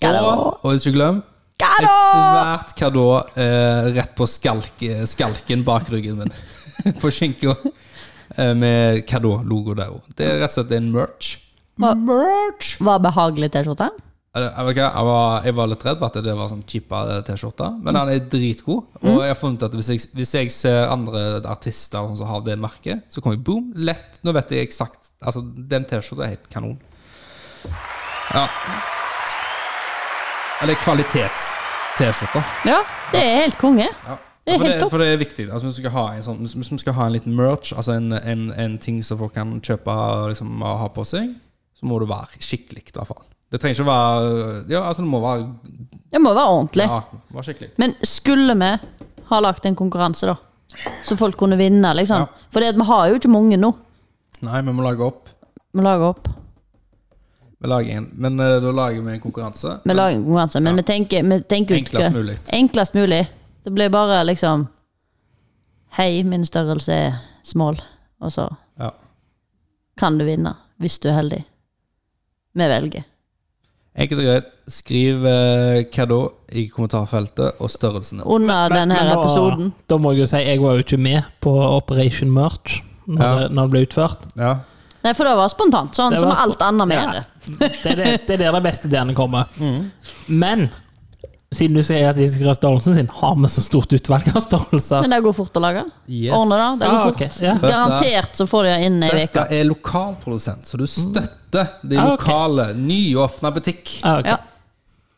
S3: Hva da?
S1: Og, og ikke glem
S3: Hva
S1: et svært hva da eh, rett på skalk, eh, skalken bak ryggen min. *laughs* på skinka. Eh, med hva da-logo der òg. Det er rett og slett en merch.
S3: Hva-
S1: Merch!
S3: Var behagelig T-skjorte?
S1: Eh, Jeg, vet ikke, jeg, var, jeg var litt redd for at det var sånn kjipa T-skjorte,
S3: Mm.
S1: men den er dritgod. Og jeg har funnet at hvis jeg, hvis jeg ser andre artister som har det merket, så kommer jeg boom, lett. Nå vet jeg eksakt Altså, den T-skjorta er helt kanon. Ja. Eller kvalitets-T-skjorte.
S3: Ja, det er helt konge.
S1: Ja.
S3: Det er
S1: for,
S3: helt
S1: det,
S3: topp.
S1: for det er viktig. Altså, hvis, du skal ha en sånn, hvis hvis du skal ha en liten merch, altså en, en, en ting som folk kan kjøpe og liksom, og ha på seg, så må du være skikkelig, i hvert fall. Det trenger ikke å være Ja, altså, det må være
S3: Det må være ordentlig.
S1: ja, være skikkelig.
S3: Men skulle vi ha lagt en konkurranse, da? Så folk kunne vinne, liksom.
S1: Ja.
S3: For vi har jo ikke mange nå.
S1: Nei, vi må lage opp.
S3: Vi lager opp.
S1: Vi lager en. Men eh, da lager vi en konkurranse.
S3: Vi lager en konkurranse, men vi tenker, vi tenker ut
S1: Enklest
S3: hva-
S1: mulig.
S3: Enklest mulig. Det blir bare liksom Hei, min størrelse er small, og så
S1: Ja.
S3: kan du vinne. Hvis du er heldig. vi velger.
S1: Enkelt og greit. Skriv eh, hva da i kommentarfeltet, og størrelsen.
S3: Under denne her
S2: Men nå-
S3: episoden.
S2: Da må jeg jo si jeg var jo ikke med på Operation Merch når,
S1: Ja.
S2: det, når det ble utført.
S1: Ja.
S3: Nei, for det var spontant. Sånn
S2: Det
S3: som
S2: var
S3: alt annet vi gjør.
S2: Det er, det, det er der de beste ideene kommer.
S3: Mm.
S2: Men siden du sier at disse Grøs Størrelsen sin har vi så stort utvalg av størrelser
S3: Men det går fort å lage.
S1: Yes.
S3: Ordne det. Det
S2: Ah,
S3: går
S2: ok.
S3: fort.
S2: ja.
S1: Dette-
S3: Garantert så får de det inn i
S1: Dette
S3: veka
S1: er lokalprodusent, så du støtter de
S2: Ah, ok.
S1: lokale, nyåpna butikk.
S2: Ah, ok.
S3: Ja.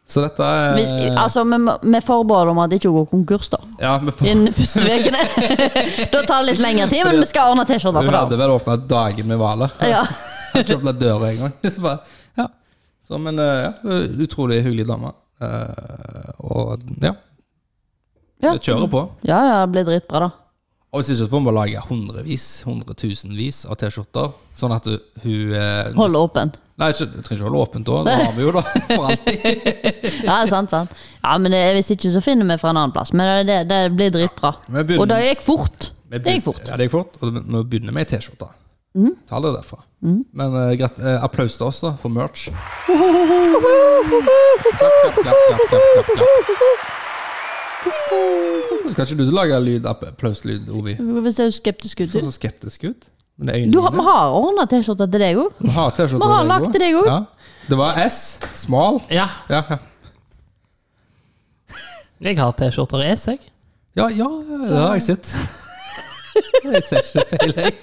S1: Så dette er
S3: Vi, altså, vi, må- vi forbereder om at det ikke går konkurs, da.
S1: Ja, vi får *laughs*
S3: Innen første ukene. *laughs* da tar det litt lengre tid, men vi skal ordne T-skjorter
S1: Vi
S3: for
S1: hadde
S3: det.
S1: vel åpna dagen vi var der.
S3: Ja.
S1: Jeg kjøpte døra en gang. *laughs* Så bare, ja. så, men eh, ja, utrolig hyggelig dame. Eh, og ja,
S3: Ja.
S1: vi kjører på.
S3: ja, ja, det blir dritbra, da.
S1: Og hvis ikke så får vi bare lage hundrevis, hundretusenvis av T-skjorter. Sånn at du, hun eh,
S3: Hold åpen.
S1: Nei, ikke, du trenger ikke holde åpent da. Det har vi jo, da. *laughs* For alltid.
S3: Ja, sant, sant. Ja, men det, hvis ikke, så finner vi fra en annen plass. Men det, det blir dritbra.
S1: Vi begynner-
S3: Og det gikk fort.
S1: Vi
S3: Det gikk
S1: begyn-
S3: fort. Mm.
S1: Ja, det gikk fort. Og nå begynner vi i T-skjorta. Ta det derfra. Men eh, grat eh, applaus til oss, da, for
S3: *laughs*
S1: merch. Klapp, klapp, klapp, klapp, klapp, klapp, klapp. Skal ikke du lage lyd, app- applauslyd, Ovi?
S3: Vi ser jo skeptisk ut.
S1: Du ser så skeptisk ut. Men det er
S3: Du, har- vi
S1: øynene dine.
S3: har ordna T-skjorter til deg òg.
S1: Vi har T-skjorta.
S3: vi har
S1: til
S3: lagt til deg også.
S1: Ja. Det var S. Smal.
S2: Ja,
S1: Ja, ja.
S2: jeg har T-skjorter i S, jeg.
S1: Ja, ja, det har jeg
S3: *laughs*
S1: sett. Jeg ser ikke feil, jeg.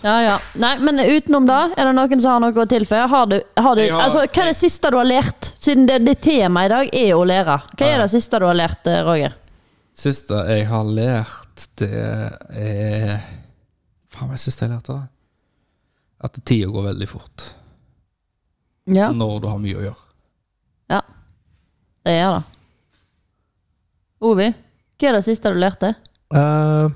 S3: Ja, ja. Nei, men utenom det, er det noen som har noe å tilføye? Har du, har du,
S1: Jeg har-
S3: altså, hva er det siste du har lært? Siden det, det temaet i dag er å lære. Hva er det siste du har lært, eh, Roger?
S1: Siste jeg har lært, det er Faen, hva er det siste jeg lærte, da? At tida går veldig fort
S3: Ja.
S1: når du har mye å gjøre.
S3: ja. Det er det. Ovi, hva er det siste du lærte?
S2: Eh,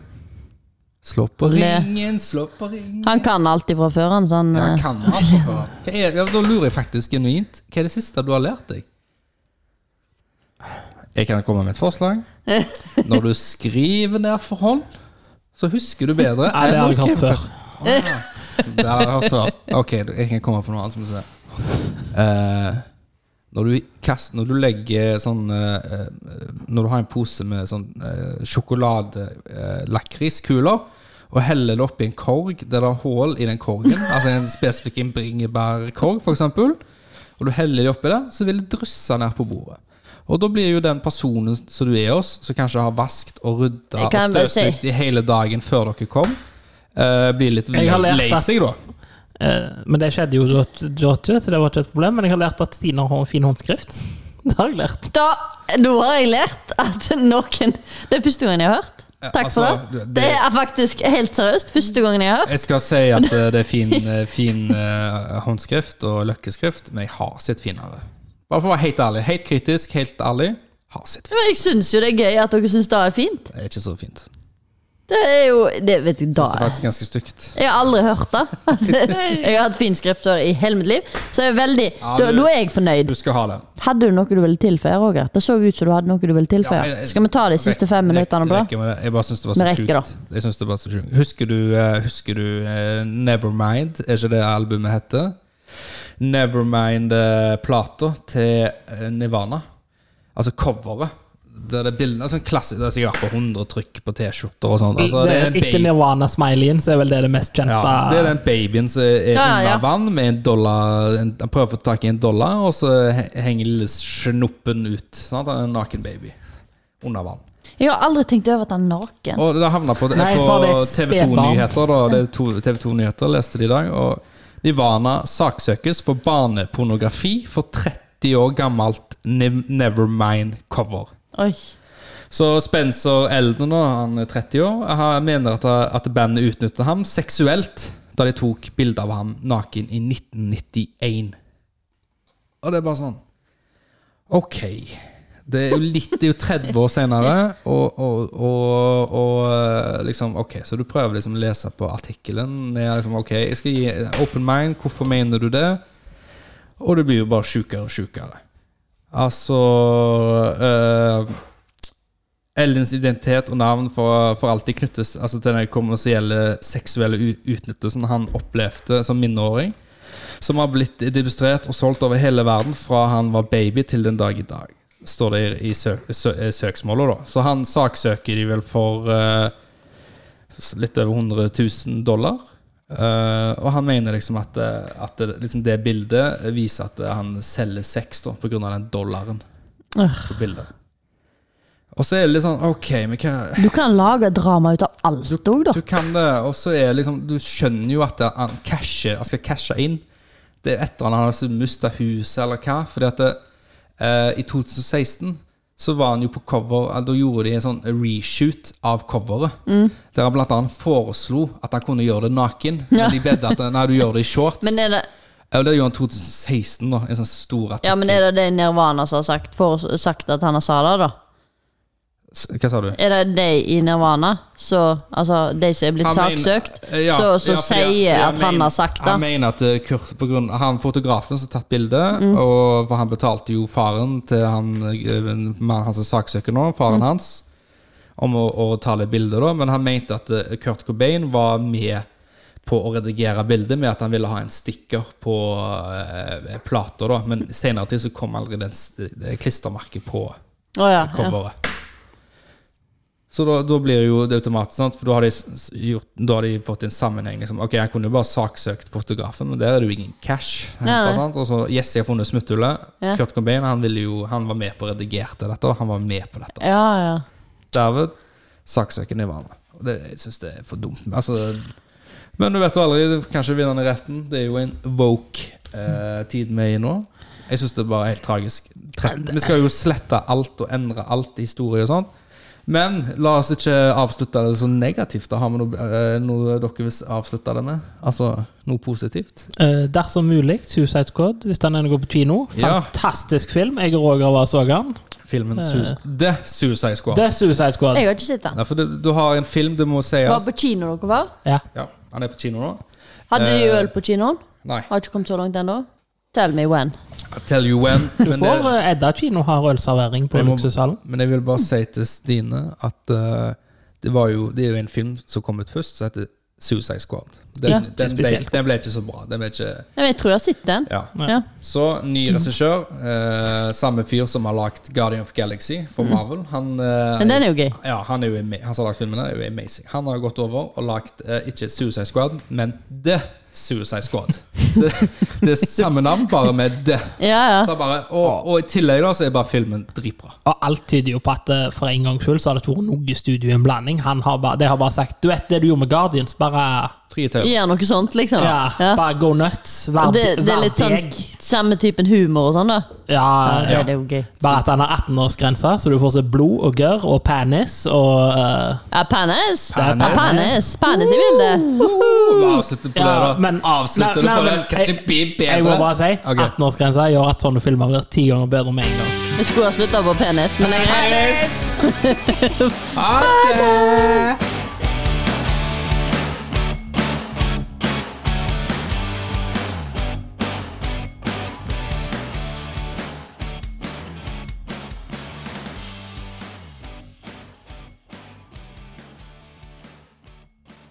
S1: Slå på
S3: Le.
S1: ringen, slå på ringen
S3: Han kan alltid fra før, han. Sånn,
S1: ja,
S3: eh,
S1: kan man altså bare. Hva er, ja, Da lurer jeg faktisk genuint. Hva er det siste du har lært deg? Jeg kan komme med et forslag.
S2: *laughs*
S1: Når du skriver ned for hånd, så husker du bedre.
S2: Nei, det har jeg hørt før.
S1: Å, ja. Ah, Det har jeg hørt før. Ok, jeg kan komme på noe annet som vi ser. Eh, når, du kast, når du legger sånn eh, eh, Når du har en pose med sånn uh, sjokoladelakriskuler, og heller det oppi en korg der det er hull i den
S3: *laughs*
S1: korgen, altså en spesifikk en bringebærkorg, f.eks., og du heller det oppi der, så vil det drysse ned på bordet. Og da blir jo den personen som du er hos, som kanskje har vaskt og rydda
S3: Jeg
S1: og
S3: kan bare si-
S1: støvsugd i hele dagen før dere kom, eh, blir litt
S2: Jeg har lært
S1: lei
S2: at-
S1: seg, da.
S2: Eh, men det skjedde jo da da ikke, så det var ikke et problem. Men jeg har lært at Stine har en fin håndskrift. *laughs* Det har jeg lært.
S3: Da, nå har jeg lært at noen Det er første gangen jeg har hørt.
S1: Ja,
S3: Takk for
S1: altså,
S3: det.
S1: det-
S3: Det er faktisk helt seriøst første gangen jeg har hørt.
S1: Jeg skal si at eh, det er fin, eh, fin eh, håndskrift og løkkeskrift, men jeg har sett finere. Bare for å være helt ærlig. Helt kritisk, helt ærlig. Har sett finere.
S3: Men jeg syns jo det er gøy at dere syns det er fint.
S1: Det er ikke så fint.
S3: Det er jo det, vet du,
S1: Synes det er
S3: da.
S1: faktisk ganske stygt.
S3: Jeg har aldri hørt
S1: *laughs*
S3: det. Jeg har hatt fin skriftør i hele mitt liv, så jeg er veldig,
S1: Ja,
S3: da,
S1: du-
S3: da er jeg fornøyd.
S1: Du skal ha den.
S3: Hadde du noe du ville tilføye, Roger? Det så ut som du hadde noe du ville
S1: Ja, jeg-
S3: tilføye.
S1: jeg-
S3: Skal vi ta de siste fem
S1: Rek-
S3: minuttene på det?
S1: rekker med det. Jeg bare syns det var
S3: Vi
S1: så
S3: rekker
S1: sjukt. Jeg synes det var så sjukt. Husker du, eh, husker du eh, Nevermind? Er ikke det albumet heter? Nevermind-plata til eh, Nirvana. Altså coveret. Der det er bilder, altså en klassisk, det er sikkert på 100 trykk på T-skjorter og sånt. Altså, det er en
S2: Etter
S1: baby-
S2: Nirvana-smileyen så er vel det det mest kjente.
S1: ja, det er den babyen som er
S3: Ja, ja.
S1: under vann med en dollar en, Han prøver å få tak i en dollar, og så he- henger lille snoppen ut. Sant? Han er en naken baby under vann.
S3: Jeg har aldri tenkt over at han er naken.
S1: Og det havna på,
S2: Nei,
S1: på
S2: for det er et
S1: TV 2
S2: spedbarn.
S1: Nyheter, da. Det er to, TV 2 Nyheter leste de i dag. Og Nirvana saksøkes for barnepornografi for 30 år gammelt Nev- Nevermind-cover.
S3: Oi.
S1: Så Spencer Elden, da, han er 30 år, han mener at, at bandet utnyttet ham seksuelt da de tok bilde av ham naken i 1991. Og det er bare sånn Ok. Det er jo litt Det er jo 30 år senere, og, og, og, og liksom Ok, så du prøver liksom å lese på artikkelen. Det er liksom, ok, jeg skal gi open mind. Hvorfor mener du det? Og du blir jo bare sjukere og sjukere. Altså eh, Ellens identitet og navn for, for alltid knyttes altså, til den kommersielle seksuelle u- utnyttelsen han opplevde som minneåring, som har blitt demonstrert og solgt over hele verden fra han var baby til den dag i dag, står det i, i sø, sø, eh, søksmålet. da. Så han saksøker de vel for eh, s- litt over 100 000 dollar. Eh, og han mener liksom at, eh, at det, liksom det bildet viser at eh, han selger sex da, på grunn av den dollaren på bildet. Og så er det litt sånn OK, men hva
S3: Du kan lage drama ut av alt òg, da.
S1: Du kan det, og så er det liksom Du skjønner jo at det- han casher, han skal cashe inn. Det er etter han har altså mistet huset, eller hva. Fordi at det, eh, i 2016 så var han jo på cover eller Da gjorde de en sånn reshoot av coveret.
S3: Mm.
S1: Der han blant annet foreslo at han kunne gjøre det
S3: *laughs*
S1: naken. Men de bedde at Nei, du gjør det i shorts.
S3: Men er det,
S1: Eller det gjorde han i 2016, da. En sånn stor
S3: ja, men er det det Nirvana som har sagt, for, sagt at han har sa det, da?
S1: Hva sa du?
S3: Er det de i Nirvana, så, altså de som er blitt
S1: Han mener-
S3: saksøkt,
S1: Ja,
S3: så, så
S1: ja, fordi-
S3: sier
S1: fordi
S3: at han
S1: mener-
S3: har sagt
S1: Han
S3: det?
S1: mener at eh, Kurt på grunn, Han fotografen som tatt bildet,
S3: Mm.
S1: og for han betalte jo faren til han eh, mannen han som saksøker nå, faren
S3: Mm.
S1: hans, om å, å ta det bildet, da. Men han mente at eh, Kurt Cobain var med på å redigere bildet med at han ville ha en stikker på eh, plata, da. Men senere til så kom aldri den s- det klistremerket på
S3: Å ja, ja.
S1: coveret. Så da, da blir jo det automatisk, sant? for da har, de s- s- gjort, da har de fått en sammenheng. Liksom. Ok, Jeg kunne jo bare saksøkt fotografen, men der er det jo ingen cash.
S3: Nei,
S1: hentet,
S3: nei.
S1: sant? Og så Jesse har funnet smutthullet.
S3: Ja.
S1: Kurt Cobain han, ville jo, han var med på å redigere dette. Da. Han var med på dette.
S3: ja, ja.
S1: Derved saksøker Nirvana. Og det, jeg syns det er for dumt. Altså, men du vet jo aldri. Kanskje vinner han i retten. Det er jo en woke eh, tid vi er i nå. Jeg syns det er bare helt tragisk. Tre- Vi skal jo slette alt og endre alt i historie og sånt. Men la oss ikke avslutte det så negativt. Da har vi noe, eh, noe dere vil avslutte det med? Altså noe positivt?
S2: Eh, dersom mulig, Suicide Squad, hvis den ennå går på kino.
S1: Ja.
S2: Fantastisk film. Jeg og Roger var og så den.
S1: Filmen Suicide- The Suicide Squad.
S2: Det er Suicide Squad.
S3: Jeg har ikke sett den.
S1: Ja, for du, du har en film du må si
S3: Var på kino dere var?
S2: Ja.
S1: Ja, han er på kino nå?
S3: Hadde de
S1: Eh,
S3: øl på kinoen?
S1: Nei.
S3: Har ikke kommet så langt ennå. Tell me when.
S1: I tell you when.
S2: Du
S1: men
S2: får
S1: det-
S2: eh, Edda kino har ølservering på
S1: Jeg må-
S2: luksushallen.
S1: Men jeg vil bare si til Stine at eh, det, var jo, det er jo en film som kom ut først, som heter Suicide Squad. Den,
S3: Ja,
S1: den, ble,
S2: spesielt.
S1: den ble ikke så bra. Den ble ikke,
S3: Nei, men Jeg tror jeg har sett den.
S1: ja.
S3: Ja.
S1: Så ny
S3: Mm.
S1: regissør. eh, samme fyr som har lagd Guardian of Galaxy for Marvel. Han, eh,
S3: Mm. Men den er jo gøy.
S1: ja, han, er jo, ama- han som har lagd filmen, er jo amazing. Han har gått over og lagd eh, ikke Suicide Squad, men The Suicide
S3: *laughs*
S1: Squad. Så det er samme navn, bare med The.
S3: Ja, ja.
S1: Så bare, og, og i tillegg da, så er bare filmen dritbra.
S2: Og alt tyder jo på at eh, for en gangs skyld så har det ikke vært noe studio i en blanding. Han har bare, de har bare sagt Du vet det du gjorde med Guardians, bare
S1: Frie tøyler.
S3: Gjør noe sånt, liksom.
S2: ja,
S3: Ja.
S2: Bare go nuts. Vær,
S3: Det, det er litt sånn
S2: deg.
S3: samme typen humor og sånn, da.
S2: Ja,
S3: Ja, det er jo gøy.
S2: Bare at han har 18-årsgrense, så du får se blod og gørr og penis og eh,
S3: Ja, Panis!
S1: Det er
S3: Ja, Panis Panis i bildet.
S1: Avslutte på det, da. Avslutte det
S2: nei,
S1: på
S2: nei,
S1: det.
S2: men
S1: Kan
S2: jeg-
S1: ikke bli bedre.
S2: Jeg må bare si
S1: Ok.
S2: 18-årsgrensa gjør at sånne filmer blir ti ganger bedre med en gang.
S1: *laughs*
S2: *laughs*
S3: Vi skulle ha slutta på penis, men jeg
S1: Penis! Ha det!